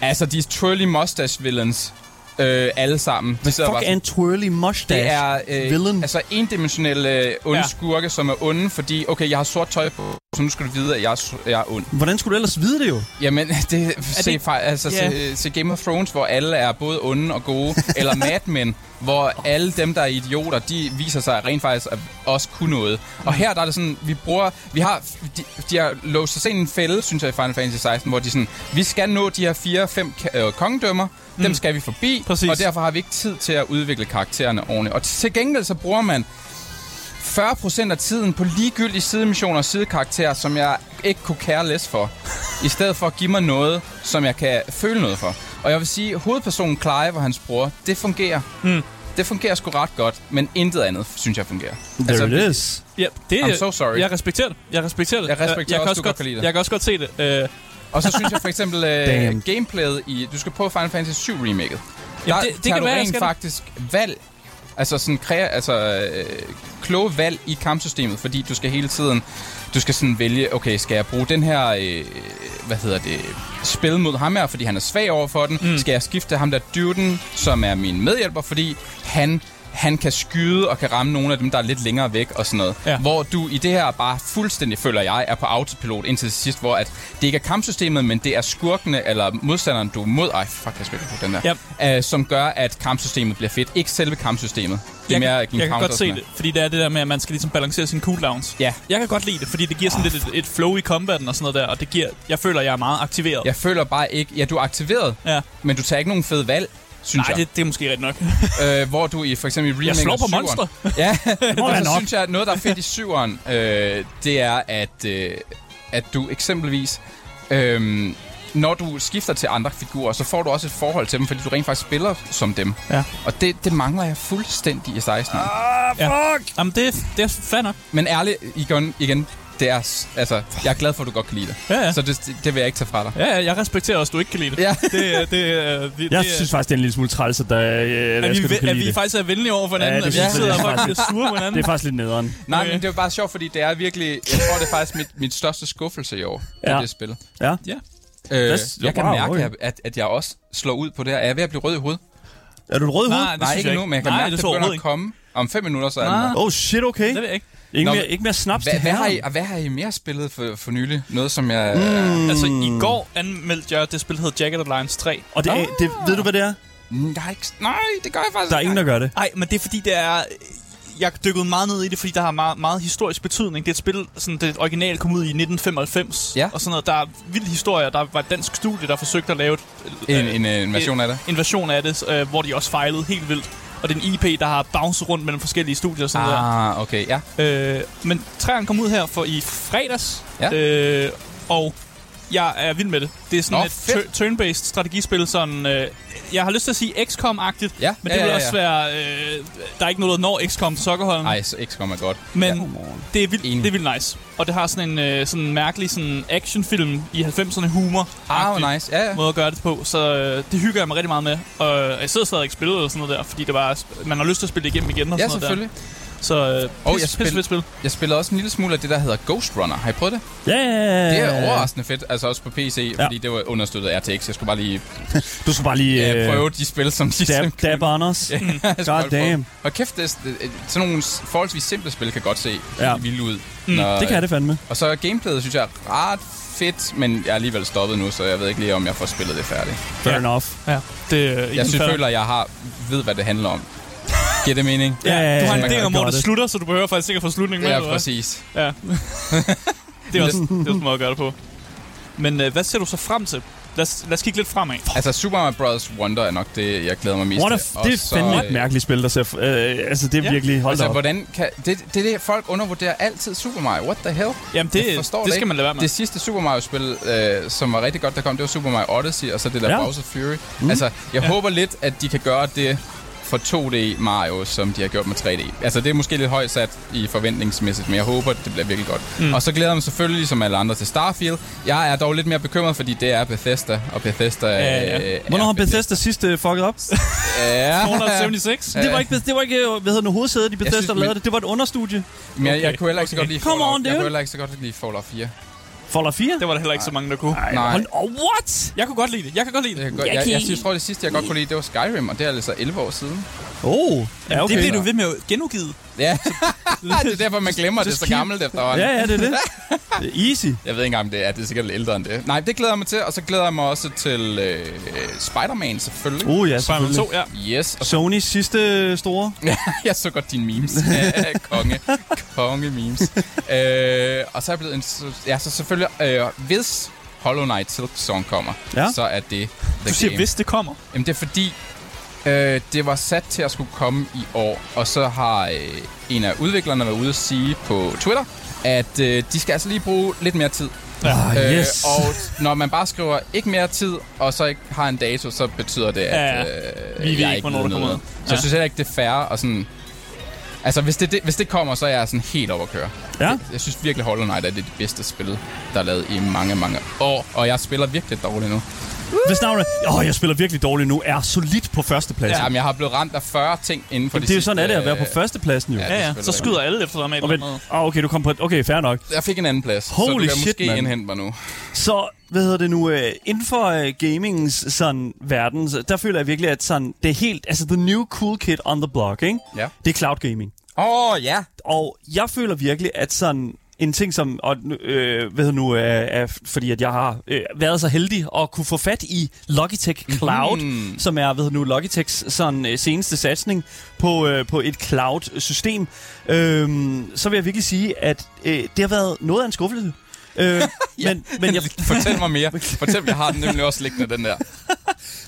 D: altså de er truly mustache villains, øh, alle sammen. De sidder
B: Fuck
D: bare sådan-
B: and twirly mustache.
D: det er
B: villain.
D: øh, altså endimensionelle øh, onde
C: Ja.
D: ja. skurke, som er onde, fordi, okay, jeg har sort tøj på, så nu skal du vide, at jeg er, s- jeg er ond.
B: Hvordan skulle du ellers vide det jo?
D: Jamen, <laughs> det, se,
C: det-
D: det? Altså,
C: Ja.
D: yeah. se, se Game of Thrones, hvor alle er både onde og
C: <laughs>
D: gode, eller Mad Men, hvor alle dem, der er idioter, de viser sig rent faktisk at også kunne noget. Og her der er det sådan, vi bruger, vi har, de, de har låst sig ind i en fælde, synes jeg, i Final Fantasy 16, hvor de sådan, vi skal nå de her fire, fem ka- øh, kongedømmer, dem skal vi forbi,
C: Mm. Præcis.
D: og derfor har vi ikke tid til at udvikle karaktererne ordentligt. Og til gengæld så bruger man 40% af tiden på ligegyldige sidemissioner og sidekarakterer, som jeg ikke kunne care less for. I stedet for at give mig noget, som jeg kan føle noget for. Og jeg vil sige, hovedpersonen Clive og hans bror, det fungerer. Mm. Det fungerer sgu ret godt, men intet andet, synes jeg, fungerer.
C: Altså,
D: Altså,
B: There it is.
C: Ja, det,
D: I'm so sorry.
C: Jeg respekterer det. Jeg respekterer det.
D: Jeg respekterer
C: jeg kan
D: også, du
C: godt,
D: godt kan lide det.
C: Jeg kan også godt se det. Øh,
D: Og så synes jeg for
C: <laughs>
D: eksempel, øh,
B: Damn.
D: gameplayet i... Du skal på Final Fantasy 7 remaket. Der
C: Jamen, det- det
D: tager
C: kan
D: du
C: være, jeg
D: rent
C: skal det.
D: faktisk valg. Altså sådan kræ, altså, øh, kloge valg i kampsystemet, fordi du skal hele tiden... Du skal sådan vælge, okay, skal jeg bruge den her... Øh, hvad hedder det? Spil mod ham her, fordi han er svag over for den. Mm. Skal jeg skifte ham der dyrten, som er min medhjælper, fordi han han kan skyde og kan ramme nogle af dem, der er lidt længere væk og sådan noget.
C: Ja.
D: Ja. Hvor du i det her bare fuldstændig, føler jeg, er på autopilot indtil sidst, hvor at det ikke er kampsystemet, men det er skurkene eller modstanderen, du er mod... Ej, fuck, jeg spiller på den der. Yep. Øh, som gør, at kampsystemet bliver fedt. Ikke selve kampsystemet. Det er
C: jeg,
D: mere
C: kan-
D: King
C: jeg kan
D: Counter
C: godt
D: og
C: se
D: sådan
C: det, fordi det er det der med, at man skal ligesom balancere sine cooldowns.
D: Ja.
C: Jeg kan godt lide det, fordi det giver sådan oh, lidt et, et flow i combaten og sådan noget der, og det giver, jeg føler, jeg er meget aktiveret.
D: Jeg føler bare ikke... Ja, du er aktiveret,
C: Ja.
D: men du tager ikke nogen fede valg, synes
C: Nej,
D: jeg.
C: det, det er måske rigtigt nok.
D: øh, hvor du i for eksempel i remake
C: Jeg slår
D: af
C: på
D: syveren-
C: monstre. <laughs>
D: Ja,
B: må
D: og
B: jeg
D: så
B: nok.
D: synes jeg, at noget, der er fedt i syveren, øh, det er, at, øh, at du eksempelvis... Øh, når du skifter til andre figurer, så får du også et forhold til dem, fordi du rent faktisk spiller som dem.
C: Ja.
D: Og det, det mangler jeg fuldstændig i 16.
C: Ja. Fuck! Jamen, det, det er fair nok.
D: Men ærligt, igen, igen det er, s- altså, jeg er glad for, at du godt kan lide det.
C: Ja, ja.
D: Så det, det vil jeg ikke tage fra dig.
C: Ja, ja, jeg respekterer også, at du ikke kan lide det.
D: Ja.
C: Det, er- det, er- <laughs> det, det,
B: Jeg
C: er-
B: synes faktisk, det er en lille smule træls, at der øh,
C: at
B: Asger, du
C: vi,
B: kan lide
C: at vi
B: det.
C: faktisk er venlige over for hinanden,
B: Ja,
C: at
B: det
C: vi
B: synes jeg,
C: sidder og
B: det er
C: faktisk
B: faktisk-
C: bliver sure på hinanden.
B: Det er faktisk lidt nederen.
D: <laughs> Nej,
C: Okay.
D: men det er bare sjovt, fordi det er virkelig... Jeg tror, det er faktisk mit, mit største skuffelse i år, ja.
B: Ja.
D: det, det spil.
B: Ja.
C: Ja.
D: Øh,
B: That's-
D: jeg kan
B: wow,
D: mærke,
B: okay.
D: at, at, at jeg også slår ud på det her. Er jeg ved at blive rød i hovedet?
B: Er du en rød hud?
C: Nej, det
D: Nej,
C: synes
D: ikke
C: jeg
D: endnu, men jeg kan
C: Nej,
D: mærke,
C: det
D: at det
C: tror jeg
D: begynder
C: overhovedet
D: at
C: ikke. Ah.
D: komme. Om fem minutter, så er
C: Nej.
D: den der.
B: Oh shit, okay.
C: Det ved jeg ikke.
B: Ikke
D: Nå,
B: mere,
D: men-
B: ikke mere snaps
D: Hvad,
B: til
D: hvad, har
B: herren.
D: I, og hvad har I mere spillet for, for nylig? Noget, som jeg...
C: Altså, i går anmeldte jeg det spil, der hedder Jagged Alliance 3.
B: Og det,
D: Ah!
B: er, det, ved du, hvad det er?
D: Mm, jeg har ikke... Nej, det gør jeg faktisk
B: Der er ingen, der gør det.
C: Nej, men det er fordi, det er... øh, Jeg dykkede meget ned i det, fordi der har meget, meget historisk betydning. Det er et spil, sådan, det originale kom ud i 1995.
D: Ja.
C: Og sådan noget. Der er vilde historier. Der var et dansk studie, der forsøgte at lave et, øh,
D: En, en, en version af det.
C: en version af det, øh, hvor de også fejlede helt vildt. Og det er en IP, der har bouncet rundt mellem forskellige studier og sådan noget.
D: Ah, okay, ja.
C: der. Øh, men træerne kom ud her for i fredags.
D: Ja.
C: Øh, og jeg er vild med det. Det er sådan
D: Nå,
C: et
D: fedt.
C: tu- turn-based strategispil, sådan... Øh, jeg har lyst til at sige XCOM-agtigt,
D: Ja,
C: men
D: ja,
C: det vil
D: ja,
C: også
D: ja.
C: være... Øh, der er ikke noget, der når XCOM Sokkerholm.
D: Ej, så XCOM er godt.
C: Men
D: Ja.
C: det er vildt,
D: Enig.
C: det er vildt nice. Og det har sådan en øh, sådan en mærkelig sådan actionfilm i 90'erne humor
D: Ah, hvor nice. Ja, ja.
C: måde at gøre det på, så øh, det hygger jeg mig rigtig meget med. Og jeg sidder stadig ikke spillet eller sådan noget der, fordi det bare, man har lyst til at spille det igennem igen og
D: Ja,
C: sådan
D: selvfølgelig.
C: noget der. Så øh, pis, oh,
D: Og jeg
C: pis,
D: spil-
C: pis, fedt spil.
D: Jeg spillede også en lille smule af det, der hedder Ghost Runner. Har I prøvet det?
B: Ja, ja, ja, ja.
D: Det er overraskende fedt, altså også på PC,
B: Øh. Ja.
D: ja. fordi det var understøttet af RTX. Jeg skulle bare lige
B: Du skal bare lige
D: øh,
B: øh,
D: prøve de spil, som de...
B: dab,
D: som-
B: dab Anders.
D: Ja, <laughs> jeg skulle
B: God
D: godt prøve.
B: damn.
D: Og kæft, det, er s- øh, sådan nogle s- forholdsvis simple spil kan godt se
B: Ja.
D: ja. vildt ud. Mm, når,
B: Det kan det fandme.
D: Og så gameplayet, synes jeg, er ret fedt, men jeg er alligevel stoppet nu, så jeg ved ikke lige, om jeg får spillet det færdigt.
B: Fair
C: Ja.
B: enough.
C: Ja, det, øh,
D: Jeg synes,
C: fair.
D: føler, at jeg har, ved, hvad det handler om. Giver det mening?
B: Ja, ja,
C: Du
B: ja,
C: har
B: ja,
C: en del om, hvor
B: godt
C: det
B: det.
C: slutter, så du behøver faktisk ikke at få slutningen med.
D: Ja,
C: eller hvad?
D: præcis.
C: Ja. <laughs> det er også, det er også en måde at gøre det på. Men øh, hvad ser du så frem til? Lad os, lad os kigge lidt fremad.
D: Altså, Super Mario Bros. Wonder er nok det, jeg glæder mig mest
B: What a
D: til.
B: f-
D: Og
B: det er
D: så,
B: fandme
D: øh,
B: et mærkeligt spil, der ser... f- Øh, altså, det er
C: Ja.
B: virkelig... Hold da
D: Altså,
B: op.
D: hvordan kan... Det, det er det, folk undervurderer altid Super Mario. What the hell?
C: Jamen, det, det,
D: forstår
C: det skal
D: ikke.
C: man lade være med.
D: Det sidste Super Mario-spil, øh, som var rigtig godt, der kom, det var Super Mario Odyssey, og så det der
B: Ja.
D: ja. Bowser Fury. Mm. Altså, jeg ja. håber lidt, at de kan gøre det for 2D Mario, som de har gjort med 3D. Altså, det er måske lidt højt sat i forventningsmæssigt, men jeg håber, det bliver virkelig godt. Mm. Og så glæder jeg mig selvfølgelig, ligesom alle andre, til Starfield. Jeg er dog lidt mere bekymret, fordi det er Bethesda, og Bethesda...
C: Ja, ja.
D: øh, er
B: Hvornår har
D: Beth-
B: Bethesda sidst øh, fucket
D: <laughs>
B: op?
D: Ja.
C: 276?
B: <laughs> Det var ikke, det var ikke øh, hvad hedder det, hovedsædet i Bethesda,
D: synes,
B: der lavede
D: men-
B: det. Det var et understudie.
D: Men jeg,
C: Okay,
D: jeg kunne heller ikke så
C: okay.
D: godt lide
B: Come on,
D: Fallout. Jeg
B: dude.
D: kunne heller ikke så godt lide Fallout 4.
B: Fallout 4?
C: Det var der heller ikke så mange, der kunne.
D: Nej.
B: Hold, oh, what?
C: Jeg kunne godt lide det. Jeg kan godt lide
D: Jeg,
C: det.
D: kan godt,
E: Jeg
D: jeg,
E: kan
D: jeg,
E: ikke-
D: jeg tror, det sidste, jeg godt kunne lide, det var Skyrim, og det er altså 11 år siden.
B: Oh, ja, okay.
C: Det bliver
D: nå.
C: du ved med at genudgive.
D: <laughs> Ja, det <laughs> er derfor, man glemmer, at det
B: <laughs>
D: er
B: Just
D: så
B: keep-
D: gammelt efterhånden.
B: Ja, ja, det
D: <laughs>
B: er det. Det er Easy.
D: Jeg ved ikke engang, om det er, det er sikkert lidt ældre end det. Nej, det glæder jeg mig til, og så glæder jeg mig også til øh, Spider-Man selvfølgelig.
B: Oh, ja,
C: Spider-Man
B: selvfølgelig.
C: 2, ja.
D: Yes, og
B: Sonys sidste store.
D: jeg så <laughs> godt dine
B: <laughs>
D: memes. Ja, konge. Konge memes. øh, og så er jeg blevet... En, så- ja, så selvfølgelig... Øh, hvis Hollow Knight Silk Song kommer,
B: Ja.
D: ja. så er det the
C: Du siger,
D: game.
C: hvis det kommer.
D: Jamen, det er fordi... Øh, det var sat til at skulle komme i år, og så har øh, en af udviklerne været ude at sige på Twitter, at øh, de skal altså lige bruge lidt mere tid.
B: Ah, yes.
D: Øh, og når man bare skriver ikke mere tid, og så ikke har en dato, så betyder det,
C: Ja,
D: at øh,
C: ved
D: jeg
C: ikke, hvornår
D: ved
C: det kommer
D: noget.
C: ud.
D: Så
C: Ja.
D: jeg synes heller ikke, det er fair. Og sådan, altså, hvis det, det, hvis det kommer, så er jeg sådan helt over at køre.
B: Ja.
D: Jeg synes virkelig, Hollow Knight er det bedste spil, der er lavet i mange, mange år. Og jeg spiller virkelig dårligt nu.
B: Hvis navnet åh, jeg spiller virkelig dårligt nu, er solidt på førstepladsen.
D: Ja. Altså, Jamen, jeg har blevet ramt af 40 ting inden for
B: det, det er jo sådan, at det er at være på
D: øh,
B: førstepladsen, jo.
D: ja.
C: Ja,
D: det er
C: ja. Så
D: selvfølgelig
C: skyder alle efter dig med et
B: Og
C: eller
B: men,
C: andet.
B: ah, okay, du kom på et, Okay, fair nok.
D: Jeg fik en anden plads, så du
B: Holy
D: kan
B: shit,
D: måske
B: mand.
D: indhente mig nu.
B: Så, hvad hedder det nu, øh, inden for øh, gamingens sådan, verden, så, der føler jeg virkelig, at sådan, det er helt, altså the new cool kid on the block, ikke?
D: Ja.
B: Det er cloud gaming.
D: Åh, oh, ja.
B: Og jeg føler virkelig, at sådan en ting som, og, nu, øh, hvad hedder nu, øh, er, fordi at jeg har øh, været så heldig at kunne få fat i Logitech Cloud, mm. som er, hvad hedder nu, Logitechs sådan, øh, seneste satsning på, øh, på et cloud-system, øh, så vil jeg virkelig sige, at øh, det har været noget af en skuffelse. Øh, ja, men, men, jeg,
D: Fortæl mig <laughs> mere. Fortæl, jeg har den nemlig også liggende, den der.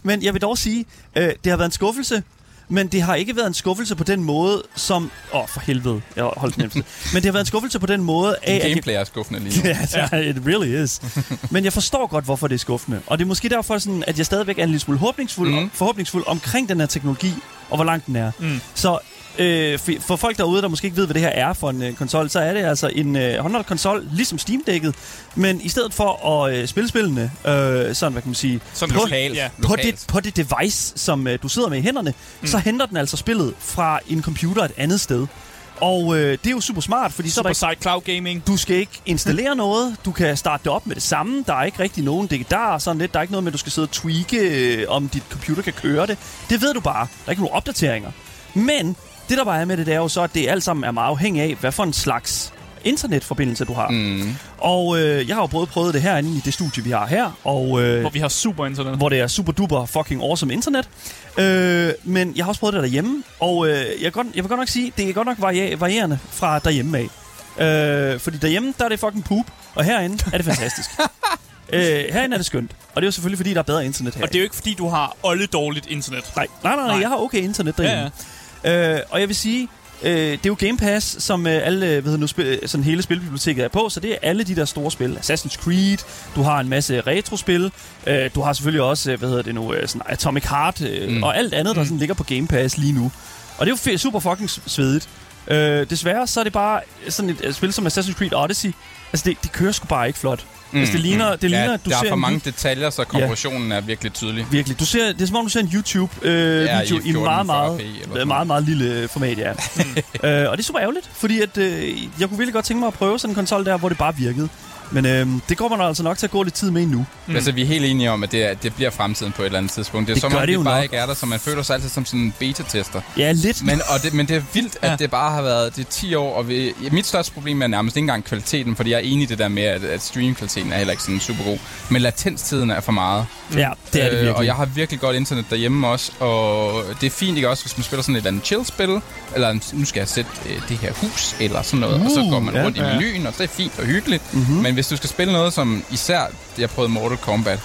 B: men jeg vil dog sige, øh, det har været en skuffelse, men det har ikke været en skuffelse på den måde, som... Åh, oh, for helvede. Jeg holdt den efter. Men det har været en skuffelse på den måde af... at jeg-
D: Gameplay er skuffende lige
B: <laughs>
D: nu.
B: Ja, yeah, it really <laughs> is. Men jeg forstår godt, hvorfor det er skuffende. Og det er måske derfor, sådan, at jeg stadigvæk er en lille smule håbningsfuld, mm. forhåbningsfuld omkring den her teknologi, og hvor langt den er. Mm. Så øh, for, for folk derude, der måske ikke ved, hvad det her er for en øh, konsol, så er det altså en øh, håndholdt konsol, ligesom Steam-dækket. Men i stedet for at øh, spille spillene, øh, sådan hvad kan man sige,
C: Sådan
B: på,
C: lokalt. Ja.
B: på,
D: Lokalt.
B: det, på det device, som øh, du sidder med i hænderne, mm. så henter den altså spillet fra en computer et andet sted. Og øh, det er jo super smart, fordi så er der
C: Super
B: ikke
C: sejt cloud gaming.
B: du skal ikke installere noget. Du kan starte det op med det samme. Der er ikke rigtig nogen digedar og sådan lidt. Der er ikke noget med, at du skal sidde og tweake, øh, om dit computer kan køre det. Det ved du bare. Der er ikke nogen opdateringer. Men det, der bare er med det, det er jo så, at det alt sammen er meget afhængigt af, hvad for en slags internetforbindelse du har. Mm. Og øh, jeg har jo både prøvet det herinde i det studie, vi har her, og øh,
C: Hvor vi har super internet.
B: hvor det er super duper fucking awesome internet. Øh, men jeg har også prøvet det derhjemme, og øh, jeg, kan godt, jeg vil godt nok sige, det er godt nok varia- varierende fra derhjemme af. Øh, fordi derhjemme, der er det fucking poop, og herinde er det
C: <laughs>
B: fantastisk. øh, herinde er det skønt, og det er jo selvfølgelig, fordi der er bedre internet her.
C: Og det er jo ikke, fordi du har olde dårligt internet.
B: Nej, nej, nej, nej,
C: Nej.
B: jeg har okay internet derhjemme. Ja, ja. Øh, og jeg vil sige, øh, det er jo Game Pass, som øh, alle, øh, hvad hedder nu, spil, sådan hele spilbiblioteket er på, så det er alle de der store spil. Assassin's Creed, du har en masse retrospil, øh, du har selvfølgelig også, øh, hvad hedder det nu, øh, sådan Atomic Heart, øh, mm. og alt andet, der sådan ligger på Game Pass lige nu. Og det er jo fe- super fucking s- svedigt. Øh, desværre så er det bare sådan et øh, spil som Assassin's Creed Odyssey, altså det, det kører sgu bare ikke flot. Mm, altså det ligner, det ligner
D: ja,
B: at du
D: der
B: ser
D: er for
B: en
D: mange detaljer, så konklusionen er virkelig tydelig.
B: Virkelig. Du ser, det er som om, du ser en YouTube-video øh,
D: Ja, i
B: video i
D: 1440p
B: meget, meget,
D: eller sådan
B: meget,
D: noget.
B: meget, meget lille øh, format,
D: <laughs>
B: ja. øh, og det er super ærgerligt, fordi at, øh, jeg kunne virkelig godt tænke mig at prøve sådan en konsol der, hvor det bare virkede. Men øh, det går man altså nok til at gå lidt tid med endnu.
D: Mm. Altså, vi er helt enige om, at det, er, det bliver fremtiden på et eller andet tidspunkt. Det er
B: Det
D: som
B: gør
D: om,
B: det jo
D: vi bare
B: nok.
D: ikke er der, så man føler sig altid som sådan en beta-tester.
B: Ja, lidt.
D: Men, og det, men det er vildt, at det bare har været det er 10 år, og vi, ja, mit største problem er nærmest ikke engang kvaliteten, fordi jeg er enig i det der med, at, at streamkvaliteten er heller ikke sådan super god. Men latenstiden er for meget.
B: <laughs> ja, det er det virkelig.
D: Øh, og jeg har virkelig godt internet derhjemme også, og det er fint ikke også, hvis man spiller sådan et eller andet chill-spil, eller en- nu skal jeg sætte øh, det her hus, eller sådan noget, uh, og så går man
B: ja,
D: rundt i menuen, og det er fint og hyggeligt. Mm-hmm. Men hvis du skal spille noget som især, jeg prøvede Mortal Kombat,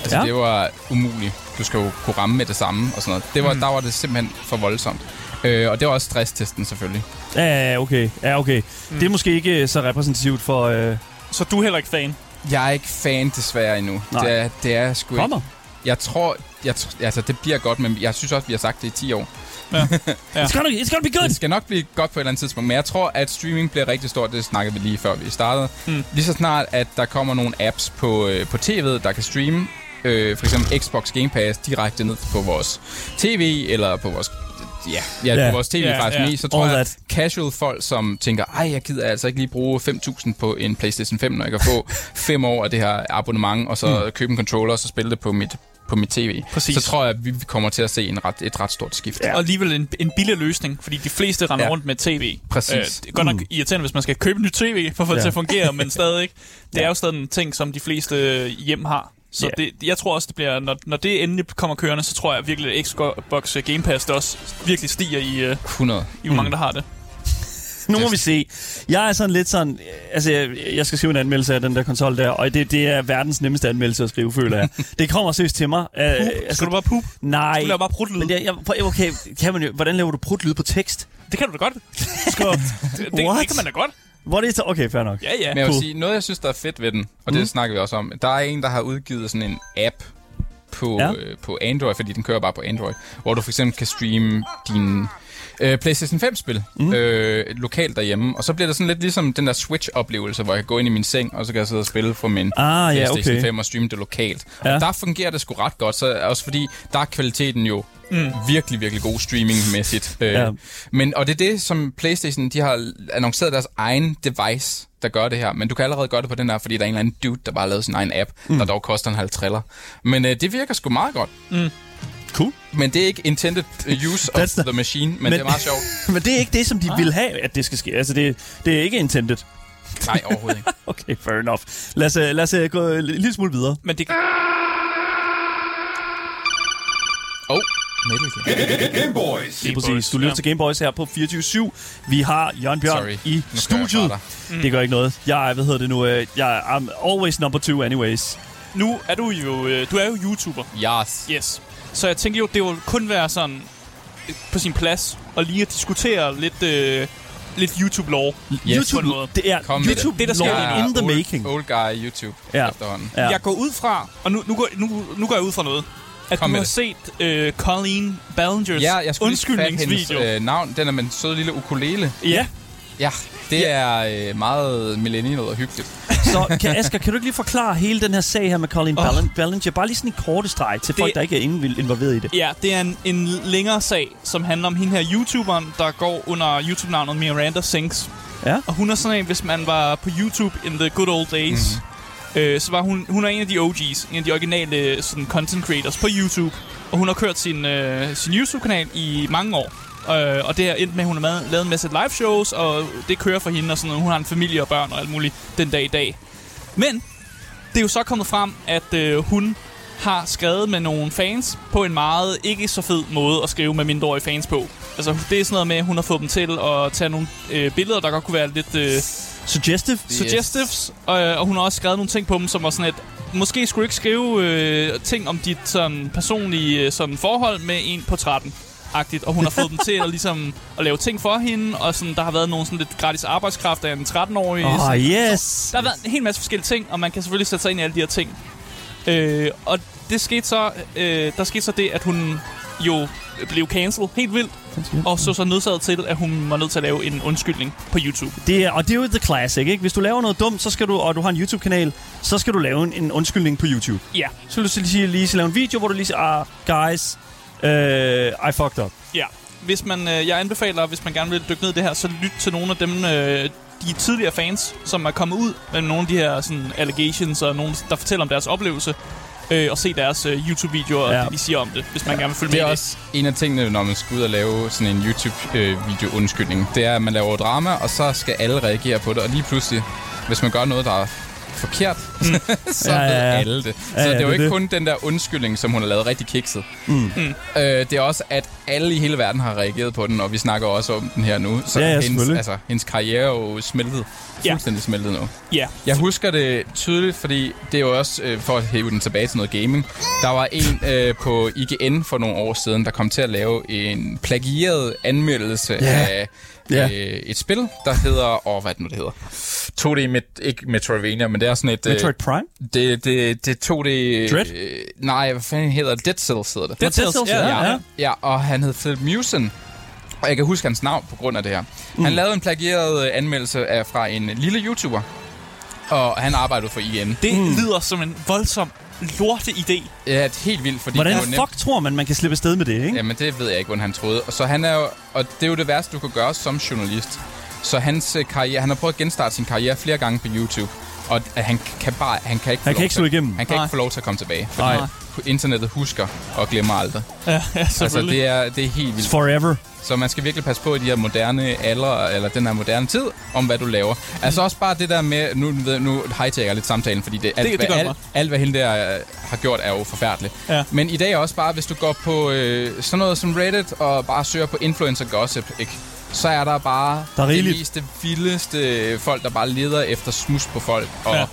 D: altså
B: Ja.
D: ja. det var umuligt. Du skal jo kunne ramme med det samme og sådan noget. Det var, mm. Der var det simpelthen for voldsomt. Øh, og det var også stresstesten selvfølgelig.
B: Ja, ja, okay. Ja, okay. Mm. Det er måske ikke øh, så repræsentativt for... Øh,
C: Så du er heller ikke fan.
D: Jeg er ikke fan desværre endnu.
B: Nej.
D: Det er, det er jeg sgu ikke.
B: kommer.
D: Jeg tror, jeg, tr- altså det bliver godt, men jeg synes også, vi har sagt det i 10 år.
C: Ja.
B: It's, gonna, it's gonna be
D: <laughs> Det
B: good!
D: skal nok blive godt på et eller andet tidspunkt, men jeg tror, at streaming bliver rigtig stort. Det snakkede vi lige før vi startede.
C: Hmm.
D: Mm. Lige så snart, at der kommer nogle apps på, øh, på tv'et, der kan streame øh, for eksempel Xbox Game Pass direkte ned på vores tv eller på vores ja, ja,
B: Ja.
D: yeah. vores tv
C: Ja,
D: yeah, faktisk
C: ja.
D: yeah. så tror
B: All
D: jeg,
B: that.
D: casual folk, som tænker, ej, jeg gider altså ikke lige bruge 5.000 på en PlayStation 5, når jeg kan
B: <laughs>
D: få 5 år af det her abonnement, og så
B: Hmm.
D: mm. købe en controller, og så spille det på mit, på mit tv.
C: Præcis.
D: Så tror jeg, at vi vi kommer til at se en ret, et ret stort skift.
C: Ja. Og alligevel en, en billig løsning, fordi de fleste render ja.
D: Ja.
C: rundt med tv. Øh,
D: Præcis.
C: det er godt nok irriterende, hvis man skal købe en ny tv for at få det
B: Ja.
C: til at fungere, men stadig. Det er jo stadig en ting, som de fleste øh, hjem har. Så
B: Ja.
C: det, jeg tror også, det bliver, når, når det endelig kommer kørende, så tror jeg virkelig, at Xbox Game Pass det også virkelig stiger i, øh,
D: 100.
C: i hvor mange, der har det.
B: Nu må vi se. Jeg er sådan lidt sådan... øh, Altså, jeg, jeg skal skrive en anmeldelse af den der konsol der, og det, det er verdens nemmeste anmeldelse at skrive, føler
D: <laughs>
B: jeg. Det kommer seriøst til mig. Uh,
C: Altså, skal du bare pup?
B: nej.
C: Du laver bare prutlyd.
B: Men jeg, jeg, prøv- okay, kan man jo, hvordan laver du prutlyd på tekst?
C: Det kan du da godt. Skal, det, det,
B: What?
C: det kan man da godt.
B: <laughs> Hvor er det Okay, fair nok.
C: Ja, ja.
D: Men jeg vil
B: Cool.
D: sige, noget jeg synes, der er fedt ved den, og det snakker vi også om, der er en, der har udgivet sådan en app på,
B: Ja.
D: ja. øh, på Android, fordi den kører bare på Android, hvor du for eksempel kan streame din øh, PlayStation 5-spil mm. øh, lokalt derhjemme, og så bliver det sådan lidt ligesom den der Switch-oplevelse, hvor jeg kan gå ind i min seng, og så kan jeg sidde og spille for min
B: Ah, ja,
D: PlayStation
B: okay.
D: 5 og streame det lokalt.
B: Ja.
D: Ja. Og der fungerer det sgu ret godt, så også fordi der er kvaliteten jo mm. virkelig, virkelig god streamingmæssigt. Øh,
B: Ja.
D: ja. Men, og det er det, som PlayStation de har annonceret deres egen device, der gør det her. Men du kan allerede gøre det på den her, fordi der er en eller anden dude, der bare har lavet sin egen app, mm. der dog koster en halv triller. Men øh, det virker sgu meget godt.
B: Cool.
D: Men det er ikke intended use of
B: That's the-
D: the machine, men, men det er meget sjovt.
B: Men det er ikke det, som de vil have, at det skal ske. Altså, det, det er ikke intended.
D: Nej, overhovedet ikke.
B: Okay, fair enough. Lad os, øh, lad os øh, gå en lille smule videre.
C: Men det,
D: Oh, Metal Gear.
A: Game Boys.
B: Lige præcis. Du lytter ja. til Gameboys her på 24-7. Vi har Jørgen Bjørn
D: Sorry.
B: i
D: Nu kører jeg
B: studiet.
D: fra
B: Mm. Det gør ikke noget. Jeg er, hvad hedder det nu, øh, jeg er I'm always number two anyways.
C: nu er du jo, øh, du er jo YouTuber.
D: Yes.
C: Yes. Så jeg tænkte jo, det ville kun være sådan øh, på sin plads og lige at diskutere lidt, øh, lidt YouTube-lov.
D: Yes.
C: På en måde.
B: det er
D: Kom med
B: YouTube,
C: det. Det, der sker
B: law
C: lige
D: er
B: in the
D: old,
B: making.
D: Old guy YouTube
B: Ja.
D: ja. efterhånden.
B: Ja.
C: Ja. Jeg går ud fra, og nu, nu, går, nu, nu går jeg ud fra noget, at
D: Kom
C: du
D: med
C: har
D: det.
C: set øh, Colleen Ballingers
D: Ja, jeg skulle lige fatte hendes
C: undskyldningsvideo.
D: øh, navn. Den er med en sød lille ukulele.
C: ja.
D: Ja, det er øh, meget millennial og hyggeligt.
B: Så kan, Asger, kan du ikke lige forklare hele den her sag her med Colin
C: Åh.
B: oh. Ballinger? Bare lige sådan i korte streg til det... folk, der ikke er inde- involveret i det.
C: <laughs> ja, det er en, en længere sag, som handler om hende her YouTuberen, der går under YouTube-navnet Miranda Sings.
B: Ja.
C: Og hun er sådan en, hvis man var på YouTube in the good old days, mm. øh, så var hun, hun er en af de OG's, en af de originale sådan, content creators på YouTube. Og hun har kørt sin, øh, sin YouTube-kanal i mange år. Øh, og det har endt med, at hun har ma- lavet en masse live shows, og det kører for hende, og sådan, noget. hun har en familie og børn og alt muligt den dag i dag. Men det er jo så kommet frem, at øh, hun har skrevet med nogle fans på en meget ikke så fed måde at skrive med mindreårige fans på. Altså, det er sådan noget med, at hun har fået dem til at tage nogle øh, billeder, der godt kunne være lidt øh,
B: Suggestive?
C: suggestives, og, øh, og hun har også skrevet nogle ting på dem, som var sådan et, måske skulle du ikke skrive øh, ting om dit sådan, personlige øh, sådan, forhold med en på 13. Agtigt, og hun har fået dem til at, ligesom, at lave ting for hende, og sådan, der har været nogle sådan lidt gratis arbejdskraft af en 13-årig.
B: Åh,
C: sådan-
B: oh, yes!
C: der har været en hel masse forskellige ting, og man kan selvfølgelig sætte sig ind i alle de her ting. Øh, og det skete så, øh, der skete så det, at hun jo blev cancelled helt vildt, og så så nødsaget til, at hun var nødt til at lave en undskyldning på YouTube.
B: Det er, og det er jo the classic, ikke? Hvis du laver noget dumt, så skal du, og du har en YouTube-kanal, så skal du lave en, en undskyldning på YouTube.
C: Ja,
B: Så vil du så lige, lige så lave en video, hvor du lige siger, ah, guys, uh, I fucked up.
C: ja. Hvis man, øh, jeg anbefaler, hvis man gerne vil dykke ned i det her, så lyt til nogle af dem, øh, de tidligere fans, som er kommet ud med nogle af de her sådan, allegations, og nogen, der fortæller om deres oplevelse, øh, og se deres øh, YouTube-videoer,
B: Ja.
C: og det, de siger om det, hvis man gerne vil følge
D: Det er
C: med i
D: også en af tingene, når man skal ud og lave sådan en YouTube-video-undskyldning. det er, at man laver drama, og så skal alle reagere på det. Og lige pludselig, hvis man gør noget, der er forkert, <laughs> så
B: Ja,
D: ja,
B: ja,
D: ja,
B: ja.
D: ved alle det. Så
B: Ja, ja,
D: det er jo
B: det er
D: ikke
B: det.
D: kun den der undskyldning, som hun har lavet rigtig kikset. Mm. Øh, det er også, at alle i hele verden har reageret på den, og vi snakker også om den her nu. Så
B: Ja, ja,
D: hendes,
B: selvfølgelig.
D: altså, hendes karriere er jo smeltet.
C: Ja.
D: Fuldstændig smeltet nu.
C: det. Ja,
D: Jeg husker det tydeligt, fordi det er jo også, øh, for at hæve den tilbage til noget gaming, der var en øh, på IGN for nogle år siden, der kom til at lave en plagieret anmeldelse yeah. af
B: Ja.
D: yeah. øh, et spil, der hedder, åh, hvad er det nu, det hedder? 2D, med, ikke Metroidvania, men det er sådan et... øh,
B: Metroid Prime?
D: Det, det, det er 2D...
B: Dread?
D: Øh, nej, hvad fanden hedder det? Dead Cells hedder det.
C: Dead Cells, ja,
B: ja.
D: Ja,
B: ja.
D: ja. ja, og han hed Philip Mewson. Og jeg kan huske hans navn på grund af det her. Han
B: Mm.
D: lavede en plagieret øh, anmeldelse af, fra en lille YouTuber. Og han arbejdede for IN.
C: Det mm. lyder som en voldsom lorte idé.
D: Ja, det er helt vildt, fordi
B: Hvordan
D: det er jo
B: fuck tror man, man kan slippe afsted med det, ikke?
D: Jamen, det ved jeg ikke, hvordan han troede. Og så han er jo, og det er jo det værste, du kan gøre som journalist. Så hans øh, karriere, han har prøvet at genstarte sin karriere flere gange på YouTube. Og at han kan bare, han kan ikke, få
B: Han kan
D: lov
B: ikke
D: til-
B: slå igennem.
D: Han kan
C: Nej.
D: ikke få lov til at komme tilbage. Fordi
B: Nej.
D: internettet husker og glemmer aldrig.
C: Ja, ja
D: Altså,
C: selvfølgelig.
D: det er, det er helt vildt.
B: Forever.
D: Så man skal virkelig passe på i de her moderne alder, eller den her moderne tid, om hvad du laver. Altså også bare det der med, nu, ved- nu hijacker jeg lidt samtalen, fordi det, alt,
C: det
D: hvad,
C: gør det
D: alt, alt, hvad hende der øh, har gjort, er jo forfærdeligt.
C: Ja.
D: Men i dag er også bare, hvis du går på øh, sådan noget som Reddit, og bare søger på influencer gossip, ikke? så er der bare
B: Der er rigeligt.
D: det meste vildeste øh, folk, der bare leder efter smus på folk. Og,
C: Ja.
D: ja.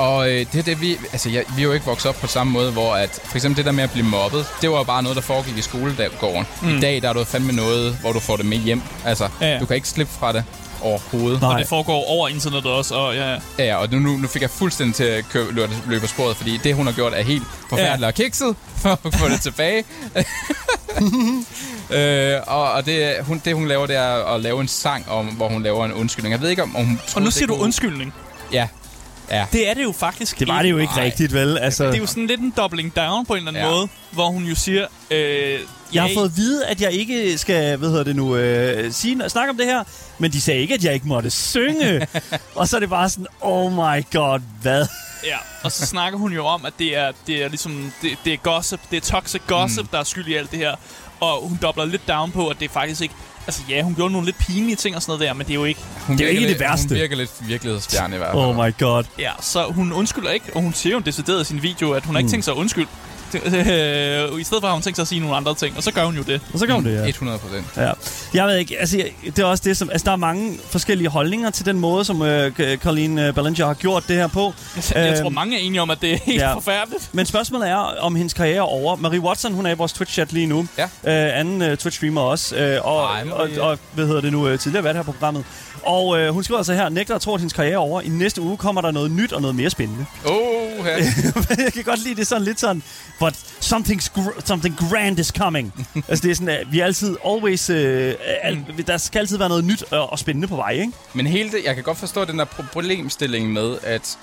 D: og øh, det er det, vi... Altså, jeg, vi er jo ikke vokset op på samme måde, hvor at... For eksempel det der med at blive mobbet, det var jo bare noget, der foregik i skolegården. Mm. I dag, der er du fandme noget, hvor du får det med hjem. Altså,
C: Ja,
D: ja,
C: ja.
D: ja. du kan ikke slippe fra det overhovedet.
B: Nej.
C: Det foregår over internettet også, og ja,
D: Ja, ja, og nu, nu, nu fik jeg fuldstændig til at kø- løbe, løbe af sporet, fordi det, hun har gjort, er helt forfærdeligt
C: Ja.
D: ja. og kikset for at få det
B: <laughs>
D: tilbage. øh, og og det, hun, det, hun laver, det er at lave en sang, om, hvor hun laver en undskyldning. Jeg ved ikke, om, om hun...
C: Og
D: troede,
C: nu
D: det
C: siger du
D: kunne-
C: undskyldning.
D: Ja. Ja.
C: Det er det jo faktisk
B: Det var det jo ikke
D: Nej.
B: rigtigt, vel? Altså,
C: Det er jo sådan lidt en doubling down på en eller anden ja.
D: Ja.
C: måde, hvor hun jo siger... Øh,
B: jeg har fået at vide, at jeg ikke skal, hvad hedder det nu, øh, sige, snakke om det her, men de sagde ikke, at jeg ikke måtte
C: <laughs>
B: synge. og så er det bare sådan, oh my god, hvad?
C: Ja, og så snakker hun jo om, at det er, det er ligesom... Det, det er gossip, det er toxic gossip, mm. der er skyld i alt det her. Og hun dobler lidt down på, at det er faktisk ikke... Altså ja, hun gjorde nogle lidt pinlige ting og sådan noget der, men det er jo ikke...
D: Hun
B: Det er jo
D: virker
B: ikke det
D: lidt,
B: værste.
D: Hun virker lidt virkelighedsfjern i hvert fald.
B: Oh my god.
C: Ja, så hun undskylder ikke, og hun siger jo decideret i sin video, at
B: Mm.
C: hun har ikke tænkt sig at undskylde. Øh, I stedet for har hun tænkt sig at sige nogle andre ting, og så gør hun jo
B: <laughs>
C: det.
B: Og så kom det, ja.
D: 100 procent.
B: Ja. Jeg ved ikke, altså jeg- det er også det, som, altså der er mange forskellige holdninger til den måde, som øh, K- Colleen øh, Ballinger har gjort det her på.
C: <laughs> Jeg
B: Øhm,
C: tror, mange er enige om, at det er helt
B: ja.
C: forfærdeligt.
B: Men spørgsmålet er, om hendes karriere er over. Marie Watson, hun er i vores Twitch-chat lige nu.
D: Ja.
B: Øh, anden øh, Twitch-streamer også. Øh, og,
D: Hej,
B: og,
D: Marie.
B: og, hvad hedder det nu, øh, tidligere været her på programmet. Og øh, hun skriver altså her, nægter at tro, at hendes karriere er over. I næste uge kommer der noget nyt og noget mere spændende. <laughs>
D: Oh, her.
B: jeg kan godt lide det sådan lidt sådan, but something's gr- something grand is
D: <laughs>
B: coming. altså det er sådan, at vi er altid, always, øh,
D: Mm.
B: al- der skal altid være noget nyt og, og spændende på vej, ikke?
D: Men hele det, jeg kan godt forstå den der pro- problemstilling med, at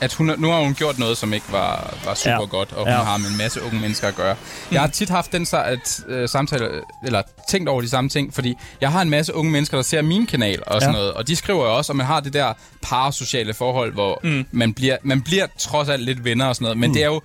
D: at hun, nu har hun gjort noget, som ikke var, var super
B: Ja.
D: ja. godt, og hun
B: Ja.
D: ja. har med en masse unge mennesker at gøre. Jeg har tit haft den sa- at, øh, samtale, eller tænkt over de samme ting, fordi jeg har en masse unge mennesker, der ser min kanal og sådan
B: Ja.
D: ja. noget, og de skriver jo også, at man har det der parasociale forhold, hvor mm. man, bliver, man bliver trods alt lidt venner og sådan noget, men mm. det er jo,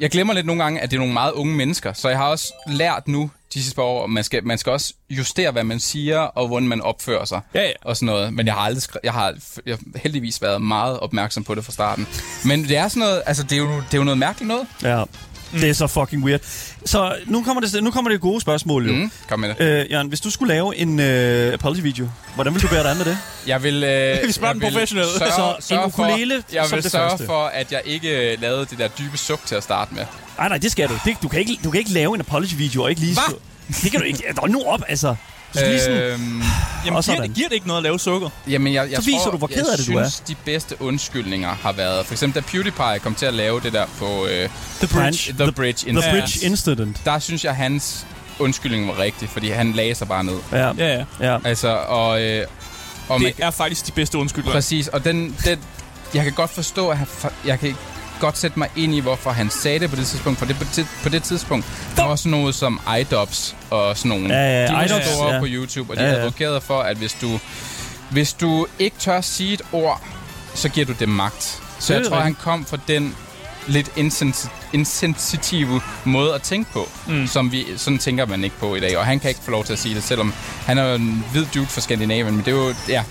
D: jeg glemmer lidt nogle gange, at det er nogle meget unge mennesker, så jeg har også lært nu de sidste par år, at man skal, man skal også justere, hvad man siger, og hvordan man opfører sig
C: Ja, ja.
D: og sådan noget. Men jeg har aldrig skri- jeg har f- jeg har heldigvis været meget opmærksom på det fra starten. Men det er sådan noget, altså det er jo, det er jo noget mærkeligt noget.
B: Ja. Mm. Det er så fucking weird. Så nu kommer det, nu kommer det gode spørgsmål, jo. Mm.
D: Mm, kom med det.
B: Øh, Jørgen, hvis du skulle lave en øh, apology-video, hvordan ville du bære dig an med det?
D: Jeg vil, øh,
C: <laughs> Vi spørger
D: jeg
C: den
D: vil
C: professionelle.
B: Så en ukulele
D: for, jeg
B: som
D: vil
B: det
D: sørge
B: første.
D: for, at jeg ikke øh, lavede det der dybe suk til at starte med.
B: Nej, nej, det skal du. Det, du, kan ikke, du kan ikke lave en apology-video og ikke lige...
D: Hva?
B: slå- Det kan du ikke. Nå, nu op, altså. Du skal øh, lige sådan...
D: Øhm,
C: Jamen,
B: Og
C: giver
B: sådan.
C: det, giver det ikke noget at lave sukker?
D: Jamen, jeg, jeg
B: Så viser
D: tror,
B: du, hvor ked
D: jeg
B: af det, du er.
D: synes, de bedste undskyldninger har været... For eksempel, da PewDiePie kom til at lave det der på øh,
C: The
B: Bridge.
D: The Bridge
B: The
D: Incident.
B: Bridge Incident.
D: Der synes jeg, hans undskyldning var rigtig, fordi han lagde sig bare ned.
B: Ja,
C: Ja, ja.
B: ja.
D: Altså, og... Øh, og man,
C: Det er faktisk de bedste undskyldninger.
D: Præcis, og den, den, jeg kan godt forstå, at han, jeg kan godt sætte mig ind i, hvorfor han sagde det på det tidspunkt, for det, på, det, på det tidspunkt, der var sådan noget som iDubs og sådan nogle.
B: Ja, ja,
D: de var
B: iDubbbz,
D: store
B: ja.
D: på YouTube, og de
B: Ja, ja.
D: advokerede for, at hvis du, hvis du ikke tør sige et ord, så giver du det magt. Så
B: Det er
D: jeg tror, han
B: rigtigt.
D: kom fra den lidt insensi- insensitive måde at tænke på, mm. som vi sådan tænker man ikke på i dag. Og han kan ikke få lov til at sige det, selvom han er jo en hvid dude fra Skandinavien, men det er jo... Ja.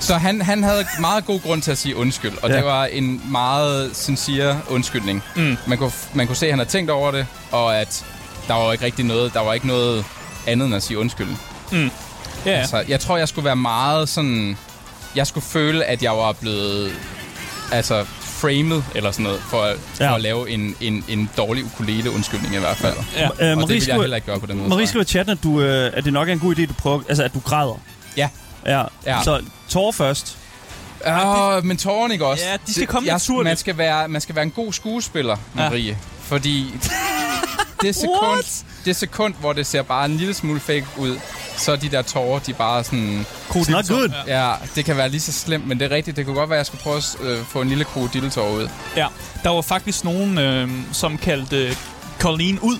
D: Så han, han havde meget god grund til at sige undskyld, og
B: Ja.
D: ja. det var en meget sincere undskyldning. Mm. Man, kunne, f- man kunne se, at han havde tænkt over det, og at der var jo ikke rigtig noget, der var ikke noget andet end at sige undskyld.
C: Ja, ja.
D: Altså, jeg tror, jeg skulle være meget sådan... Jeg skulle føle, at jeg var blevet altså framed eller sådan noget, for, at- for
B: Ja.
D: ja. at lave en, en, en dårlig ukulele undskyldning i hvert fald. Ja.
C: ja.
B: Øh,
D: Og det
B: Marie,
D: vil jeg
B: skriver,
D: heller ikke gøre på den måde. tror
B: Marie
D: jeg.
B: skriver i chatten, at, du, øh, at det nok er en god idé, at du prøver, altså, at du græder.
D: Ja.
B: Ja.
D: Ja.
B: Så tårer først.
D: Åh, men tårerne ikke også?
C: Ja, de skal
D: Det-
C: komme naturligt.
D: Man
C: <laughs>
D: skal, være, man skal være en god skuespiller, Marie. Fordi det sekund... det sekund, hvor det ser bare en lille smule fake ud, så er de der tårer, de bare sådan...
B: It's not good.
D: Ja, det kan være lige så slemt, men det er rigtigt. Det kunne godt være, at jeg skulle prøve at øh, få en lille krokodilletår ud.
C: Ja, der var faktisk nogen, øh, som kaldte øh, Colleen ud,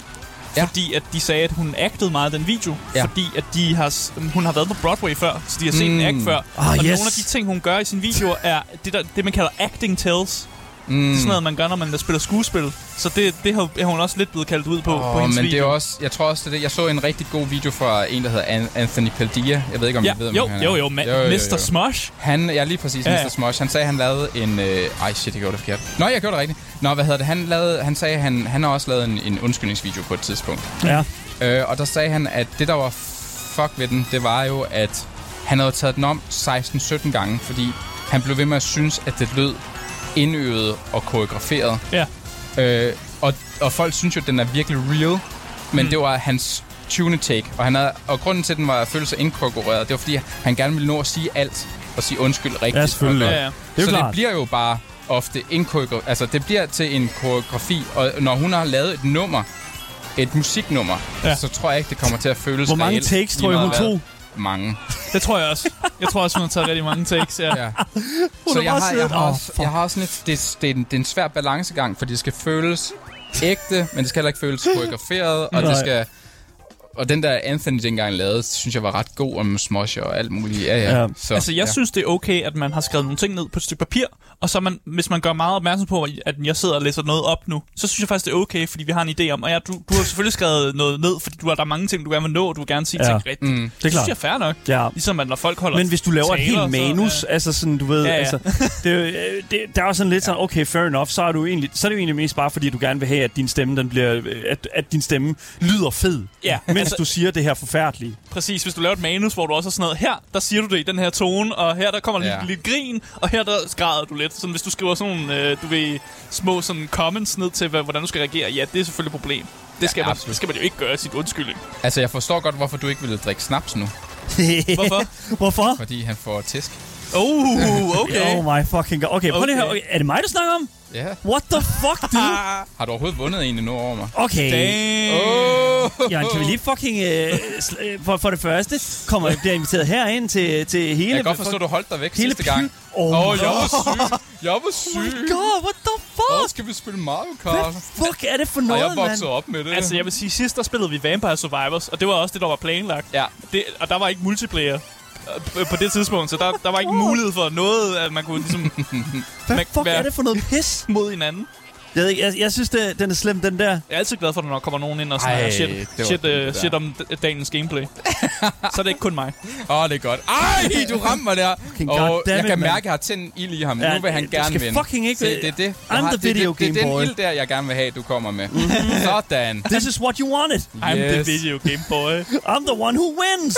D: Ja.
C: ja. fordi at de sagde, at hun actede meget i den video,
D: Ja.
C: ja. fordi at de har, s- mm, hun har været på Broadway før, så de har set mm. en act før.
B: Ah,
C: og
B: yes.
C: nogle af de ting, hun gør i sine videoer, er det, der, det man kalder acting tells. Mm. Det er sådan noget, man gør, når man spiller skuespil. Så det, det har er hun også lidt blevet kaldt ud på, oh, på
D: Åh,
C: hendes
D: men det
C: video.
D: er også, jeg tror også, det er det. Jeg så en rigtig god video fra en, der hedder An- Anthony Paldea. Jeg ved ikke, om
C: Ja,
D: I ved,
C: jo,
D: om han er-
C: jo, jo, ma- Mr. Smosh.
D: Han, ja, lige præcis,
C: Ja,
D: ja,
C: ja.
D: Mr. Smosh. Han sagde, at han lavede en... Øh, ej, shit, jeg gjorde det forkert. Nå, jeg gjorde det rigtigt. Nå, hvad hedder det? Han, lavede, han sagde, at han, han har også lavet en, en undskyldningsvideo på et tidspunkt.
B: Ja.
D: Øh, og der sagde han, at det, der var fuck ved den, det var jo, at han havde taget den om 16-17 gange, fordi han blev ved med at synes, at det lød indøvet og koreograferet.
C: Ja.
D: Øh, og, og folk synes jo, at den er virkelig real, men mm. det var hans 20. take. Og, han havde, og grunden til, at den var at føle sig inkorporeret, det var, fordi han gerne ville nå at sige alt og sige undskyld rigtigt.
B: Ja, selvfølgelig.
D: Og-
C: Ja, ja.
B: Det er
D: så
B: jo
D: det
B: klart.
D: bliver jo bare ofte en koreografi. Altså, det bliver til en koreografi, og når hun har lavet et nummer, et musiknummer, ja.
C: Ja.
D: så tror jeg ikke, det kommer til at føles
B: Hvor mange
D: reelt,
B: takes
D: lige
B: tror jeg, hun
D: meget hvad.
B: tog?
D: Mange.
C: Det tror jeg også. Jeg tror også, hun har taget rigtig mange takes. Ja.
D: Ja.
B: <laughs> Hun
D: så
B: er
D: jeg
B: bare
D: har, jeg,
B: siddet-
D: har
B: Åh,
D: også, jeg har også sådan et, det, det, er en, det er en svær balancegang, for det skal føles ægte, men det skal heller ikke
B: <gasps>
D: føles koreograferet, og
B: Nej.
D: det skal... Og den der Anthony dengang lavede, synes jeg var ret god om smosh og alt muligt. Ja, ja.
B: Ja.
D: Så,
C: Altså, jeg
D: ja.
C: synes, det er okay, at man har skrevet nogle ting ned på et stykke papir, og så man, hvis man gør meget opmærksom på, at jeg sidder og læser noget op nu, så synes jeg faktisk, det er okay, fordi vi har en idé om, og ja, du, du har selvfølgelig skrevet noget ned, fordi du har, der er mange ting, du gerne vil nå, og du vil gerne sige
B: Ja.
C: ja. ting rigtigt. Mm. Det,
B: Det er klart.
C: synes jeg er fair nok.
B: Ja.
C: Ligesom at når folk holder
B: Men hvis du laver et
C: taler,
B: helt manus,
C: Så,
B: så, altså sådan, du ved, ja,
C: Ja,
B: ja.
C: ja.
B: altså, det, er jo, øh, det, der er jo sådan lidt sådan, okay, fair enough, så er, du egentlig, så er det jo egentlig mest bare, fordi du gerne vil have, at din stemme, den bliver, øh, at, at din stemme lyder fed,
C: Ja,
B: mens altså,
C: altså-
B: du siger det her forfærdelige.
C: ja, præcis. Hvis du laver et manus, hvor du også har sådan noget, her, der siger du det i den her tone, og her, der kommer ja.
D: Ja.
C: lidt, lidt grin, og her, der skræder du lidt. Sådan, hvis du skriver sådan nogle, øh, du ved, små sådan comments ned til, hvad, hvordan du skal reagere, ja, det er selvfølgelig et problem. Det skal,
D: Ja,
C: ja, man,
D: absolut.
C: det skal man jo ikke gøre sit undskyldning.
D: altså, jeg forstår godt, hvorfor du ikke ville drikke snaps nu,
C: <laughs> Hvorfor?
B: Hvorfor?
D: fordi han får tisk. Uh,
C: Oh, okay.
B: Oh my fucking god. Okay, prøv okay.
C: Okay.
B: lige her. Okay, er det mig, du snakker om?
D: Ja.
B: What the fuck,
C: <laughs>
B: dude?
D: Har du overhovedet vundet en endnu over mig?
B: Okay. Øh.
D: Oh.
B: Jørgen, kan vi lige fucking... Øh, sl- øh, for, for det første, kommer, bliver inviteret herind til, til hele...
D: Jeg kan godt forstå, at du holdt dig væk
B: hele
D: sidste gang.
B: py-
D: Åh,
B: Åh,
D: oh, oh, jeg var syg. Jeg var syg.
B: Oh God, what the
D: Åh,
B: fuck?
D: skal vi spille Mario
B: Hvad
D: Kart?
B: fuck er det for
D: Og
B: noget,
D: jeg
B: mand?
D: voksede op med det.
C: Altså, jeg vil sige, sidst der spillede vi Vampire Survivors, og det var også det, der var planlagt.
D: Ja.
C: Det, og der var ikke multiplayer øh, på det tidspunkt, så der, der var ikke
D: Uh.
C: mulighed for noget, at man kunne
D: <laughs>
C: ligesom
B: Hvad
C: man-
B: fuck
C: hvad-
B: er det for noget pis?
C: mod hinanden.
B: Jeg, ved ikke, jeg, jeg synes, det, den er slem, den der.
C: Jeg er altid glad for, når der kommer nogen ind og
D: Ej,
C: snakker
D: det
C: shit,
D: var
C: shit,
D: fint, det
C: øh,
D: der.
C: shit om d- dagens
D: <laughs>
C: gameplay. så er det ikke kun mig.
D: Åh, oh, det er godt. Ej, du rammer mig der. Og
B: goddammit,
D: jeg kan
B: mand.
D: mærke, at jeg har tændt ild i ham.
B: Ja,
D: nu vil han
B: du
D: gerne
B: skal
D: vinde.
B: fucking ikke-
D: Se, det er det. Jeg
B: I'm
D: har-
B: the
D: det, er
B: video
D: det, det,
B: game
D: er
B: boy. Mhm.
D: den ild der, jeg gerne vil have, du kommer med.
B: <laughs>
D: Sådan.
B: This is what you wanted.
C: I'm the
D: Yes.
C: video game boy.
B: I'm the one who wins.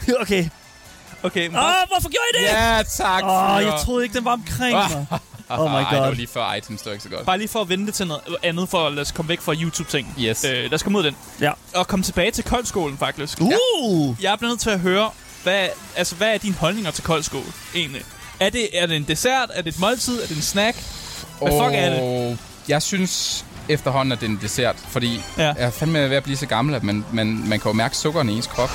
B: <laughs> Okay.
C: Okay,
D: Ah.
C: men
B: Åh, oh, hvorfor gjorde I det?
D: Ja, Ah. tak.
B: Åh, oh,
D: fyre.
B: jeg troede ikke, den var omkring
D: <laughs>
B: mig. Oh my
D: Ej, det var
B: god.
D: lige før items, det var ikke så godt.
C: bare lige for at vende det til noget andet, for at lad os komme væk fra YouTube-ting.
D: Yes.
C: Øh, lad os komme ud af den.
B: Ja.
C: Og komme tilbage til koldskolen, faktisk.
B: Uh!
C: Jeg er blevet nødt til at høre, hvad, altså, hvad er dine holdninger til koldskål egentlig? Er det, er det en dessert? Er det et måltid? Er det en snack? Hvad fuck er det?
D: Og Jeg synes efterhånden, at det er en dessert, fordi
C: Ja.
D: jeg er fandme ved at blive så gammel, at man, man, man kan jo mærke sukkeren i ens
C: <laughs>
D: krop.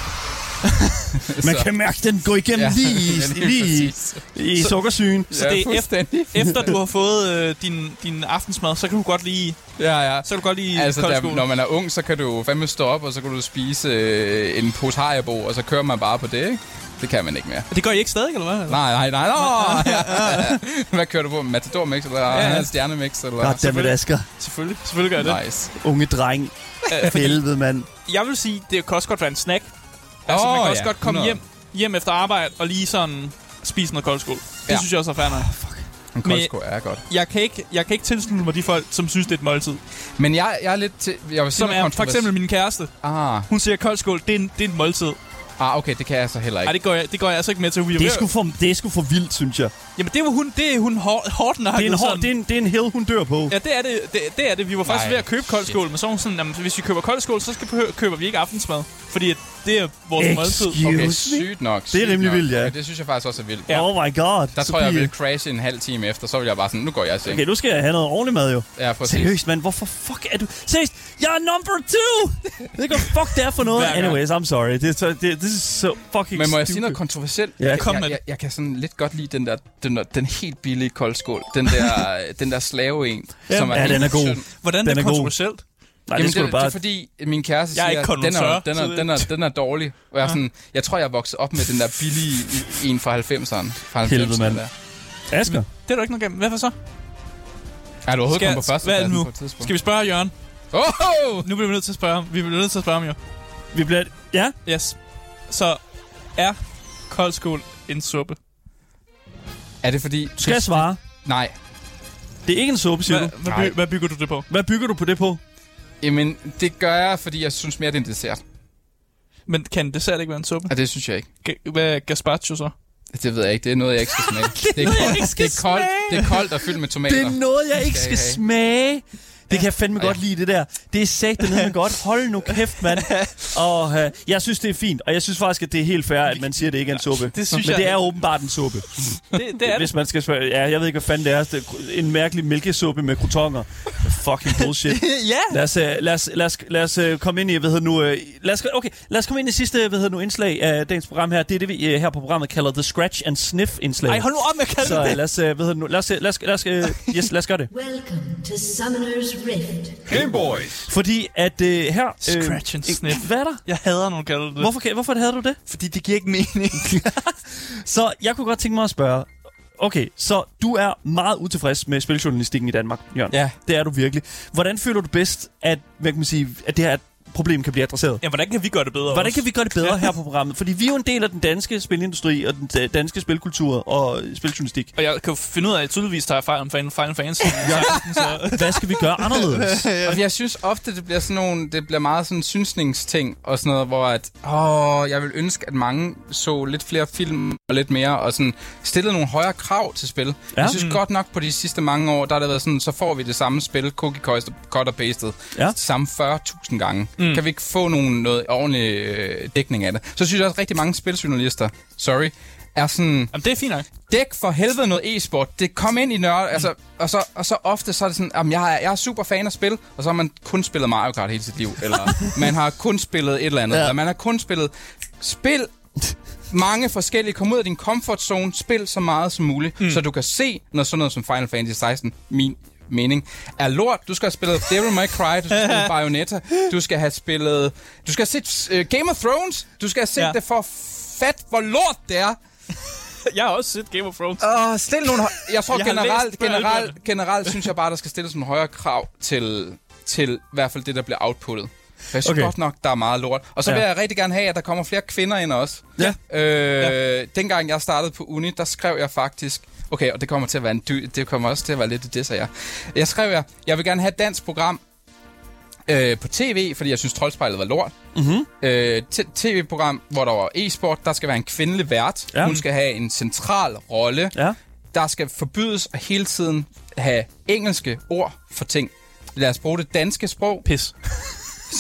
B: Man
D: Så-
B: kan mærke, den går igennem
D: Ja, <laughs>
B: lige, i-
D: ja, lige
B: lige i-
D: præcis.
B: i sukkersygen.
C: Så det er
D: fuldstændig.
C: Efter du har fået øh, din, din aftensmad, så kan du godt lige
D: ja, ja.
C: så kan du godt lige
D: Altså, der,
C: koldskål.
D: når man er ung, så kan du jo fandme stå op, og så kan du spise øh, en pose haribo, og så kører man bare på det, ikke? Det kan man ikke mere.
C: Det gør I ikke stadig, eller hvad?
D: Nej, nej, nej,
C: <laughs>
D: nej. Hvad kører du på? Matador Mix, eller ja,
C: Ja,
D: ja.
C: ja.
D: stjernemix, eller...
B: Goddammit, Asger.
C: Selvfølgelig. Selvfølgelig gør jeg det. Øh,
D: Nice.
B: Unge dreng. For helvede, mand.
C: Jeg vil sige, det kan også godt være en snack. Altså, man kan
D: Åh,
C: også
D: ja,
C: godt komme
D: 100.
C: hjem, hjem efter arbejde og lige sådan spise noget koldskål. Det
D: Ja. Ah,
C: synes jeg også er fair nok.
D: En koldsko er godt.
C: Jeg kan, ikke, jeg kan ikke tilslutte mig de folk, som synes, det er et måltid.
D: Men jeg, jeg er lidt til... Jeg vil sige
C: Som
D: noget
C: er for
D: kontrovers-
C: eksempel min kæreste.
D: Ah,
C: Hun siger, at koldskål, det er, en, det er et måltid.
D: ah, okay, det kan jeg så heller ikke.
C: Nej, det går jeg, det går jeg altså ikke med til. Vi
B: Det er sgu for, det er sgu for vildt, synes jeg.
C: Jamen, det var hun, det er hun hår, hårdt nok.
B: Det er en, hård, det er en, det er en hill, hun dør på.
C: Ja, det er det, det, det er det. Vi var faktisk
D: Nej,
C: ved at købe
D: shit.
C: koldskål, men så var hun sådan, jamen, hvis vi køber koldskål, så skal, behø- køber vi ikke aftensmad. Fordi at det er vores måltid.
B: Excuse
D: Okay,
B: me?
D: sygt nok.
B: Det er
D: sygt
B: rimelig
D: nok.
B: vildt, ja.
D: Okay, det synes jeg faktisk også er vildt.
C: Ja.
B: Oh my god.
D: Der tror jeg, jeg
B: Sofie.
D: ville crashe en halv time efter, så ville jeg bare sådan, nu går jeg i seng.
B: Okay, nu skal jeg have noget ordentlig mad, jo.
D: Ja, præcis.
B: Seriøst, mand. Hvorfor fuck er du... Seriøst, jeg er number two! Jeg ved ikke, hvad fuck det er for noget.
C: Hver gang.
B: Anyways, I'm sorry. Det, er så- det, this is so fucking
D: Men må jeg sige
B: stupid.
D: noget kontroversielt?
B: Ja.
D: Jeg,
C: Kom med
D: jeg,
C: det.
D: jeg, jeg kan sådan lidt godt lide den der, den, der, den helt billige koldskål. Den der,
B: <laughs>
D: den der slave en, som er
B: ja,
D: helt
B: den er god.
D: tynd.
C: Hvordan
B: Den
C: det er
B: er god.
C: kontroversielt?
B: Nej, det
D: Jamen, det,
B: skulle
D: det,
B: det, bare...
D: er fordi, min kæreste
C: Jeg er
D: siger,
C: ikke
D: den, er,
C: konduktør,
D: den,
C: så
D: er,
C: det-
D: den, er, den er dårlig. Og jeg, er sådan, jeg tror, jeg voksede op med den der billige en fra 90'eren. Fra 90'erne
B: Helvede, mand.
D: der.
B: Asger.
C: Det er du ikke noget galt. Hvorfor så?
D: Er du overhovedet
C: Skal-
D: kommet på første
C: hvad er det nu?
D: på et tidspunkt?
C: Skal vi spørge Jørgen?
D: Oh!
C: Nu bliver vi nødt til at spørge ham. Vi bliver nødt til at spørge ham jo.
B: Vi bliver... Ja?
C: Yes. Så er koldskål en suppe?
D: Er det fordi...
B: Du skal jeg svare.
D: Nej.
B: Det er ikke en suppe, siger
C: Hvad,
B: du.
C: hvad,
D: Nej.
C: by, hvad bygger du det på?
B: Hvad bygger du på det på?
D: Jamen, det gør jeg, fordi jeg synes mere, det er en dessert.
C: Men kan en dessert ikke være en suppe?
D: Og det synes jeg ikke.
C: Ga- Hvad er gazpacho så?
D: Det ved jeg ikke. Det er noget, jeg ikke
C: <laughs>
D: skal smage. det, er
C: noget, jeg
D: koldt,
C: ikke skal
D: det, er koldt,
C: smage.
D: det er koldt og fyldt med tomater.
B: Det er noget, jeg ikke
D: skal
B: skal
D: I have.
B: smage. Det kan jeg fandme
D: Ja.
B: godt lide, det der. Det er sagt med godt. Hold nu kæft, mand. Og øh, jeg synes, det er fint. Og jeg synes faktisk, at det er helt fair, at man siger, at det ikke er en suppe.
C: det synes
B: Men
C: jeg
B: det er
C: ikke.
B: åbenbart en suppe.
C: Det, det er det.
B: Hvis man skal spørge... Ja, jeg ved ikke, hvad fanden det er. Det er en mærkelig mælkesuppe med krotonger. Fucking
C: <laughs>
B: bullshit.
C: <laughs> ja.
B: Lad os, øh, lad os, lad os, lad os øh, komme ind i, hvad hedder nu, øh, lad os, okay, lad os komme ind i sidste, hvad hedder nu, indslag af dagens program her. Det er det, vi øh, her på programmet kalder The Scratch and Sniff indslag.
C: Ej, hold nu op med at kalde
B: Så
C: det
B: øh,
C: det.
B: lad os, øh, hvad hedder nu, lad os, øh, lad os, lad os, øh, yes, lad os gøre det.
E: Welcome to Summoner's Rift.
A: Game Boys.
B: Fordi at øh, her... Øh,
C: Scratch and
B: øh,
C: sniff.
B: Hvad er der?
C: Jeg hader, når du kalder det det.
B: Hvorfor, kan- hvorfor havde du det?
C: Fordi det giver ikke mening.
B: Så jeg kunne godt tænke mig at spørge... Okay, så du er meget utilfreds med spiljournalistikken i Danmark, Jørgen.
D: Ja.
B: Det er du virkelig. Hvordan føler du bedst, at, hvad kan man sige, at det her problem kan blive adresseret?
C: <laughs> ja, hvordan kan vi gøre det bedre?
B: Hvordan
C: også?
B: kan vi gøre det bedre her på programmet? Fordi vi er jo en del af den danske spilindustri og den da- danske spilkultur og spiljournalistik.
C: Og jeg kan jo finde ud af, at jeg tydeligvis tager jeg fejl om Final Final Fantasy. ja.
D: <laughs>
C: så.
B: Hvad skal vi gøre anderledes?
D: Og Altså, jeg synes ofte, det bliver sådan nogle, det bliver meget sådan synsningsting og sådan noget, hvor at, åh, jeg vil ønske, at mange så lidt flere film og lidt mere, og sådan stillede nogle højere krav til spil. Ja. Jeg synes
B: Mm.
D: godt nok på de sidste mange år, der har det været sådan, så får vi det samme spil, cookie cutter, cut og pasted,
B: Ja.
D: ja. samme 40.000 gange. Mm. Kan vi ikke få nogen, noget ordentlig øh, dækning af det? Så synes jeg også, at rigtig mange spiljournalister, sorry, er sådan,
C: Jamen, det er fint nok.
D: dæk for helvede noget e-sport. Det kom ind i nørd, altså, og, så, og så ofte så er det sådan, at jeg er, jeg er super fan af spil, og så har man kun spillet Mario Kart hele <laughs> sit liv, eller man har kun spillet et eller andet,
B: Ja.
D: ja. eller man har kun spillet spil mange forskellige. Kom ud af din comfort zone, spil så meget som muligt, mm. så du kan se, når sådan noget som Final Fantasy 16, min mening, er lort. Du skal have spillet Devil May Cry, du skal <laughs> have spillet Bayonetta, du skal have spillet... Du skal have set uh, Game of Thrones, du skal have set
C: Ja.
D: ja. det for fat, hvor lort det er.
C: <laughs> Jeg har også set Game of Thrones.
D: Åh, stil nogle... hø- Jeg tror
C: Jeg har læst
D: generelt,
C: på
D: generelt,
C: albumet.
D: generelt synes jeg bare, der skal stilles nogle højere krav til, til i hvert fald det, der bliver outputtet. For Jeg synes
B: Okay.
D: okay. godt nok, der er meget lort. Og så
B: Ja.
D: vil jeg rigtig gerne have, at der kommer flere kvinder ind også.
B: Ja.
D: Øh, ja. Dengang jeg startede på uni, der skrev jeg faktisk... Okay, og det kommer til at være en dy, det kommer også til at være lidt et diss af jer. Jeg skrev jeg, jeg vil gerne have et dansk program øh, på tv, fordi jeg synes, Troldspejlet var lort. Mm-hmm. Øh, t- TV-program, hvor der var e-sport, der skal være en kvindelig vært.
B: Ja.
D: Ja. Hun skal have en central rolle
B: Ja.
D: der skal forbydes at hele tiden have engelske ord for ting. Lad os bruge det danske sprog
C: Pis.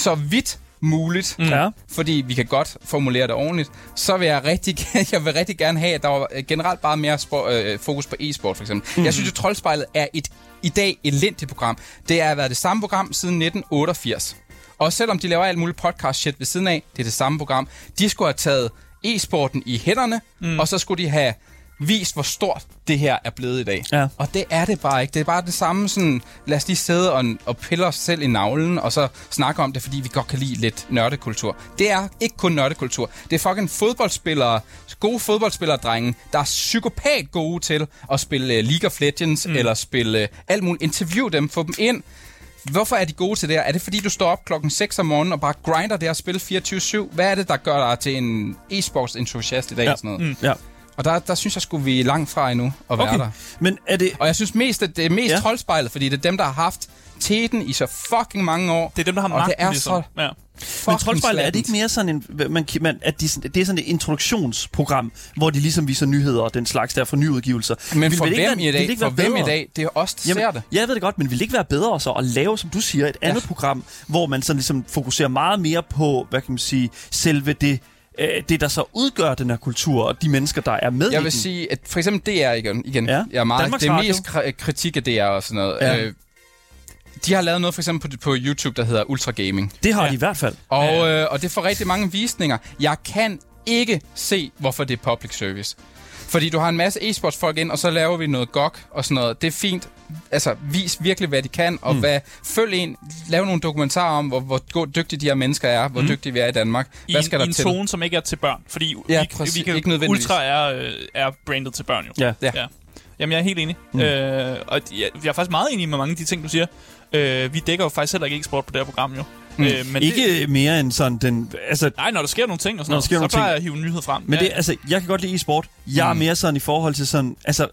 D: så vidt muligt, mm.
B: Ja.
D: fordi vi kan godt formulere det ordentligt. Så vil jeg rigtig, <laughs> gerne- jeg vil rigtig gerne have, at der var øh, generelt bare mere spor, øh, fokus på e-sport for eksempel. Mm. Jeg synes, at Troldspejlet er et i dag elendigt program. Det har været det samme program siden 1988. Og selvom de laver alt muligt podcast shit ved siden af, det er det samme program. De skulle have taget e-sporten i hænderne, mm. og så skulle de have vist, hvor stort det her er blevet i dag.
B: Ja.
D: Og det er det bare ikke. Det er bare det samme sådan, lad os lige sidde og, og pille os selv i navlen, og så snakke om det, fordi vi godt kan lide lidt nørdekultur. Det er ikke kun nørdekultur. Det er fucking fodboldspillere, gode fodboldspillere, drenge, der er psykopat gode til at spille uh, League of Legends, mm. eller spille uh, alt muligt. Interview dem, få dem ind. Hvorfor er de gode til det her? Er det fordi, du står op klokken 6 om morgenen og bare grinder det her spil 24-7? Hvad er det, der gør dig til en e-sports-entusiast i dag?
B: Ja.
D: Ja. Og, sådan noget? Mm.
B: ja.
D: og der, der synes jeg, skulle vi er langt fra endnu at være
B: Okay.
D: der.
B: Men er det...
D: Og jeg synes mest, at det er mest
B: Ja.
D: ja. troldspejlet, fordi det er dem, der har haft teten i så fucking mange år.
C: Det er dem, der har
D: og
C: magten,
D: det er
C: ligesom.
D: så
C: Ja.
B: Men
D: fucking
B: Troldspejlet, er det
D: slattent.
B: ikke mere sådan en... Man, man, at de, det er sådan et introduktionsprogram, hvor de ligesom viser nyheder og den slags der for nyudgivelser.
D: Men
B: Ville
D: for
B: det ikke
D: hvem
B: være-
D: i
B: ville det
D: dag?
B: ikke
D: For
B: være
D: hvem i
B: bedre?
D: dag? Det er os, der ser det.
B: jeg ved det godt, men ville det ikke være bedre så at lave, som du siger, et andet ja. program, hvor man sådan ligesom fokuserer meget mere på, hvad kan man sige, selve det, øh, det der så udgør den her kultur, og de mennesker, der er med i
D: Jeg vil
B: den.
D: sige, at for eksempel DR igen, igen
B: Ja.
D: ja. jeg er meget,
B: Danmarks
D: det er
B: Radio.
D: mest kri- kritik af DR og sådan noget.
B: Ja.
D: Ja. Øh, de har lavet noget for eksempel på, på YouTube, der hedder Ultra Gaming.
B: det har
C: Ja.
B: de i hvert fald.
D: Og,
C: Ja,
D: ja. øh, og det får rigtig mange visninger. Jeg kan ikke se, hvorfor det er public service. Fordi du har en masse e-sportsfolk ind, og så laver vi noget GOG og sådan noget. Det er fint. Altså, vis virkelig, hvad de kan, og mm. hvad, følg en, lav nogle dokumentarer om, hvor, hvor go- dygtige de her mennesker er, hvor mm. dygtige vi er i Danmark.
C: I,
D: Hvad skal
C: en,
D: der
C: i en
D: til?
C: tone, som ikke er til børn. Fordi
D: Ja,
C: vi,
D: præcis.
C: vi kan,
D: Ikke nødvendigvis.
C: Ultra er, øh, er brandet til børn jo.
B: Ja.
D: Ja.
C: ja. Jamen, jeg er helt enig. Mm. Øh, og jeg, jeg er faktisk meget enig med mange af de ting, du siger. Øh, vi dækker jo faktisk heller ikke e-sport på det her program jo. Mm. Øh, men Det,
B: Ikke mere end sådan den... Altså,
C: nej, når der sker nogle ting og sådan
B: Når der
C: noget,
B: sker
C: så
B: nogle ting.
C: plejer jeg at hive en nyhed frem.
B: Men
C: ja.
B: det, altså, jeg kan godt lide e-sport. Jeg er
D: Mm.
B: mere sådan i forhold til sådan... Altså, øh,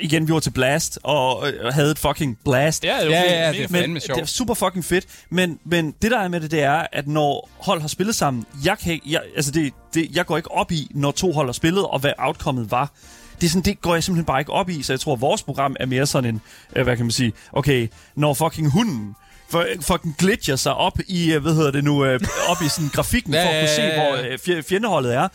B: igen, vi var til Blast, og øh, havde et fucking Blast.
C: Ja, det var
D: Ja,
C: mega-
D: ja, ja,
C: mega
D: det er
C: fedt.
D: fandme sjovt.
B: Det er super fucking fedt, men, men det der er med det, det er, at når hold har spillet sammen, jeg, kan, ikke- jeg, altså det, det, jeg går ikke op i, når to hold har spillet, og hvad outcomet var. Det, er sådan, det går jeg simpelthen bare ikke op i, så jeg tror, at vores program er mere sådan en, øh, hvad kan man sige, okay, når fucking hunden for, fucking glitcher sig op i, øh, hvad hedder det nu, øh, op i sådan grafikken,
D: Ja,
B: for at kunne
D: ja,
B: se,
D: ja, ja.
B: hvor øh, fje- fjendeholdet er.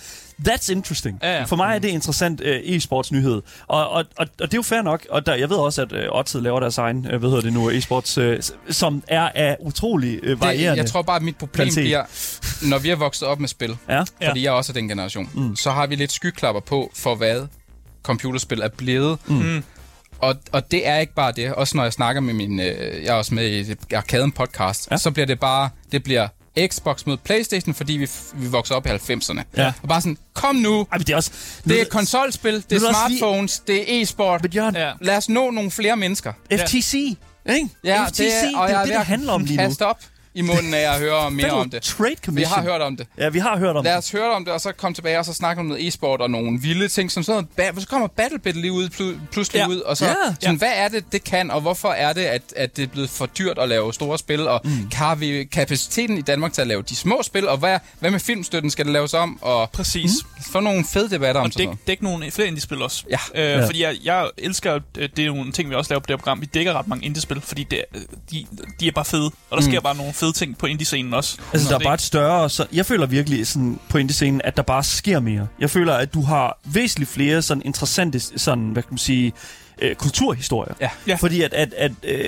B: That's interesting.
C: Ja, ja.
B: For mig er det interessant øh, e-sportsnyhed. Og, og, og, og det er jo fair nok. Og der, jeg ved også, at øh, Odset laver deres egen, øh, hvad hedder det nu, e-sports, øh, s- som er af utrolig øh,
D: Det,
B: varierende.
D: jeg tror bare, at mit problem
B: kvalitet.
D: kvalitet. bliver, når vi er vokset op med spil,
B: Ja.
C: Ja.
D: fordi jeg også er den generation, mm. så har vi lidt skyklapper på for, hvad computerspil er blevet. Mm. Og, og det er ikke bare det. Også når jeg snakker med min... Øh, jeg er også med i et- Arkaden podcast.
B: Ja.
D: Ja. Så bliver det bare... Det bliver Xbox mod Playstation, fordi vi, f- vi vokser op i 90'erne.
B: Ja.
D: Og bare sådan, kom nu!
B: Ej, men det er også...
D: Det er konsolspil, det
B: du
D: er
B: også lige-
D: smartphones, det er e-sport.
B: Men Jørgen,
C: Ja.
D: Lad os nå nogle flere mennesker.
B: FTC, ikke? FTC, det, er
D: og
B: jo
D: jeg
B: det,
D: ved
B: det
D: at
B: handler om lige nu.
D: Kaste op i munden af at
B: <laughs>
D: høre mere
B: Federal
D: om det.
B: Trade Commission.
D: Vi har hørt om det.
B: Ja, vi har hørt om
D: Lad
B: det.
D: os høre om det, og så komme tilbage og så snakke om noget e-sport og nogle vilde ting, som sådan noget. ba- Så kommer BattleBit lige ud, plu- pludselig
C: Ja.
D: ud, og så
B: Ja.
D: sådan, hvad er det, det kan, og hvorfor er det, at, at det er blevet for dyrt at lave store spil, og mm. har vi kapaciteten i Danmark til at lave de små spil, og hvad, hvad med filmstøtten skal det laves om, og
C: Præcis.
D: få nogle fede debatter om
C: Og
D: sådan
C: dæk,
D: noget.
C: dæk nogle flere indie-spil også.
D: Ja.
C: Øh,
B: Ja.
C: Fordi jeg, jeg elsker, øh, det er nogle ting, vi også laver på det her program. Vi dækker ret mange indie-spil, fordi det, er- øh, de, de er bare fede. Og der sker bare nogle fede ting på indie-scenen også.
B: Altså,
C: Så
B: der er
C: det-
B: bare et større... Så jeg føler virkelig sådan, på indie-scenen, at der bare sker mere. Jeg føler, at du har væsentligt flere sådan interessante, sådan, hvad kan man sige, øh, kulturhistorier.
D: Ja.
C: Ja.
B: Fordi, at, at, at, øh,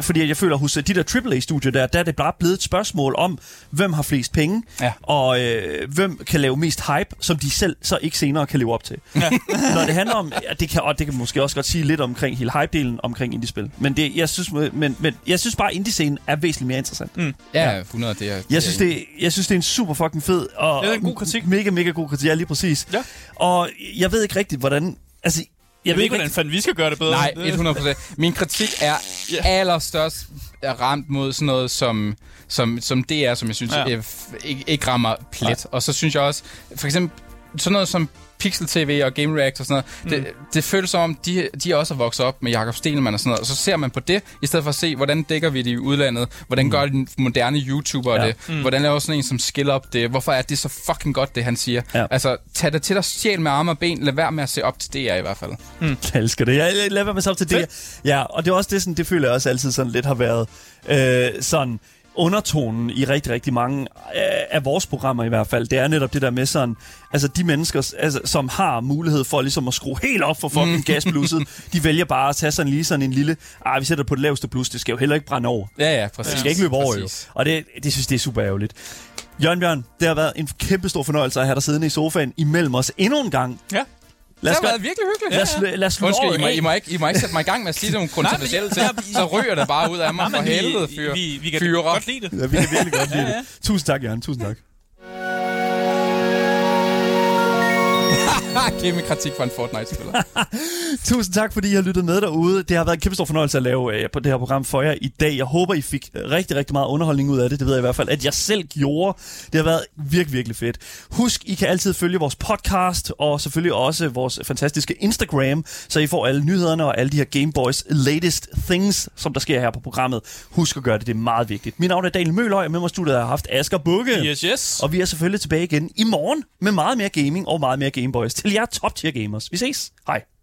B: fordi at jeg føler, hos øh, de der AAA-studier der, der er det bare blevet et spørgsmål om, hvem har flest penge,
D: Ja.
B: og øh, hvem kan lave mest hype, som de selv så ikke senere kan leve op til. Ja. <laughs> Når det handler om, ja, det kan, og det kan måske også godt sige lidt omkring hele hype-delen omkring indie-spil. Men, det, jeg synes, men, men jeg synes bare, at indie-scenen er væsentligt mere interessant.
D: Ja, 100, det er...
B: Jeg synes, det, jeg synes, det er en super fucking fed og
C: Det er en god kritik.
B: mega, mega god kritik, ja, lige præcis.
C: Ja.
B: Og jeg ved ikke rigtigt, hvordan... Altså, jeg,
C: Jeg ved ikke, hvordan
B: rigtig-
C: fanden vi skal gøre det bedre.
D: Nej,
C: Det-
D: 100 Min kritik er
C: Ja.
D: allerstørst er ramt mod sådan noget som, som, som det er, som jeg synes
C: Ja.
D: ja. ikke, ikke rammer plet. Og så synes jeg også, for eksempel sådan noget som Pixel TV og Game React og sådan noget, det, det føles som om, de, de også er vokset op med Jakob Stelman og sådan noget, og så ser man på det, i stedet for at se, hvordan dækker vi det i udlandet, hvordan gør de moderne YouTubere
B: Ja.
D: ja. det, mm. hvordan laver sådan en som Skill Up det, hvorfor er det så fucking godt, det han siger.
B: Ja.
D: Ja. Altså, tag det til dig, sjæl med arme og ben, lad være med at se op til DR i hvert fald.
B: <laughs> Jeg elsker det. Jeg jeg- lad være med så op til det. Ja, og det er også det, sådan, det føler jeg også altid sådan lidt har været øh, sådan undertonen i rigtig, rigtig mange øh, af vores programmer i hvert fald, det er netop det der med sådan, altså de mennesker, altså, som har mulighed for ligesom at skrue helt op for fucking mm.
C: <laughs>
B: gasblusset, de vælger bare at tage sådan lige sådan en lille, ah, vi sætter det på det laveste blus, det skal jo heller ikke brænde over.
D: Ja, ja, præcis.
B: Det skal ikke løbe over, jo.
D: Præcis.
B: Og det, det synes det er super ærgerligt. Jørgen Bjørn, det har været en kæmpe stor fornøjelse at have dig siddende i sofaen imellem os endnu en gang.
C: Ja.
B: Lad os,
D: det har
B: gøre,
D: været virkelig hyggeligt.
B: lad os, lad os slutte
D: Undskyld,
B: året
D: I må,
B: af.
D: I, må ikke, I må ikke sætte mig i gang med at sige nogle kontroversielle ting. Så ryger det bare ud af mig for
C: Men vi-
D: helvede, fyre.
C: Vi, vi kan
D: fyre.
C: godt lide det.
B: Ja, vi kan virkelig
D: <laughs>
B: godt lide det. Tusind tak, Jørgen. Tusind tak.
D: Kæmpe Ah, kritik for en Fortnite-spiller.
B: Tusind tak, fordi I har lyttet med derude. Det har været en kæmpe stor fornøjelse at lave øh, på det her program for jer i dag. Jeg håber, I fik øh, rigtig, rigtig meget underholdning ud af det. Det ved jeg i hvert fald, at jeg selv gjorde. Det har været virkelig, virkelig fedt. Husk, I kan altid følge vores podcast og selvfølgelig også vores fantastiske Instagram, så I får alle nyhederne og alle de her Game Boys latest things, som der sker her på programmet. Husk at gøre det, det er meget vigtigt. Mit navn er Daniel Møløj, og med mig i studiet har jeg haft Asger Bukke.
C: Yes, yes.
B: Og vi er selvfølgelig tilbage igen i morgen med meget mere gaming og meget mere Game Boys til jer top tier gamers. Vi ses. Hej.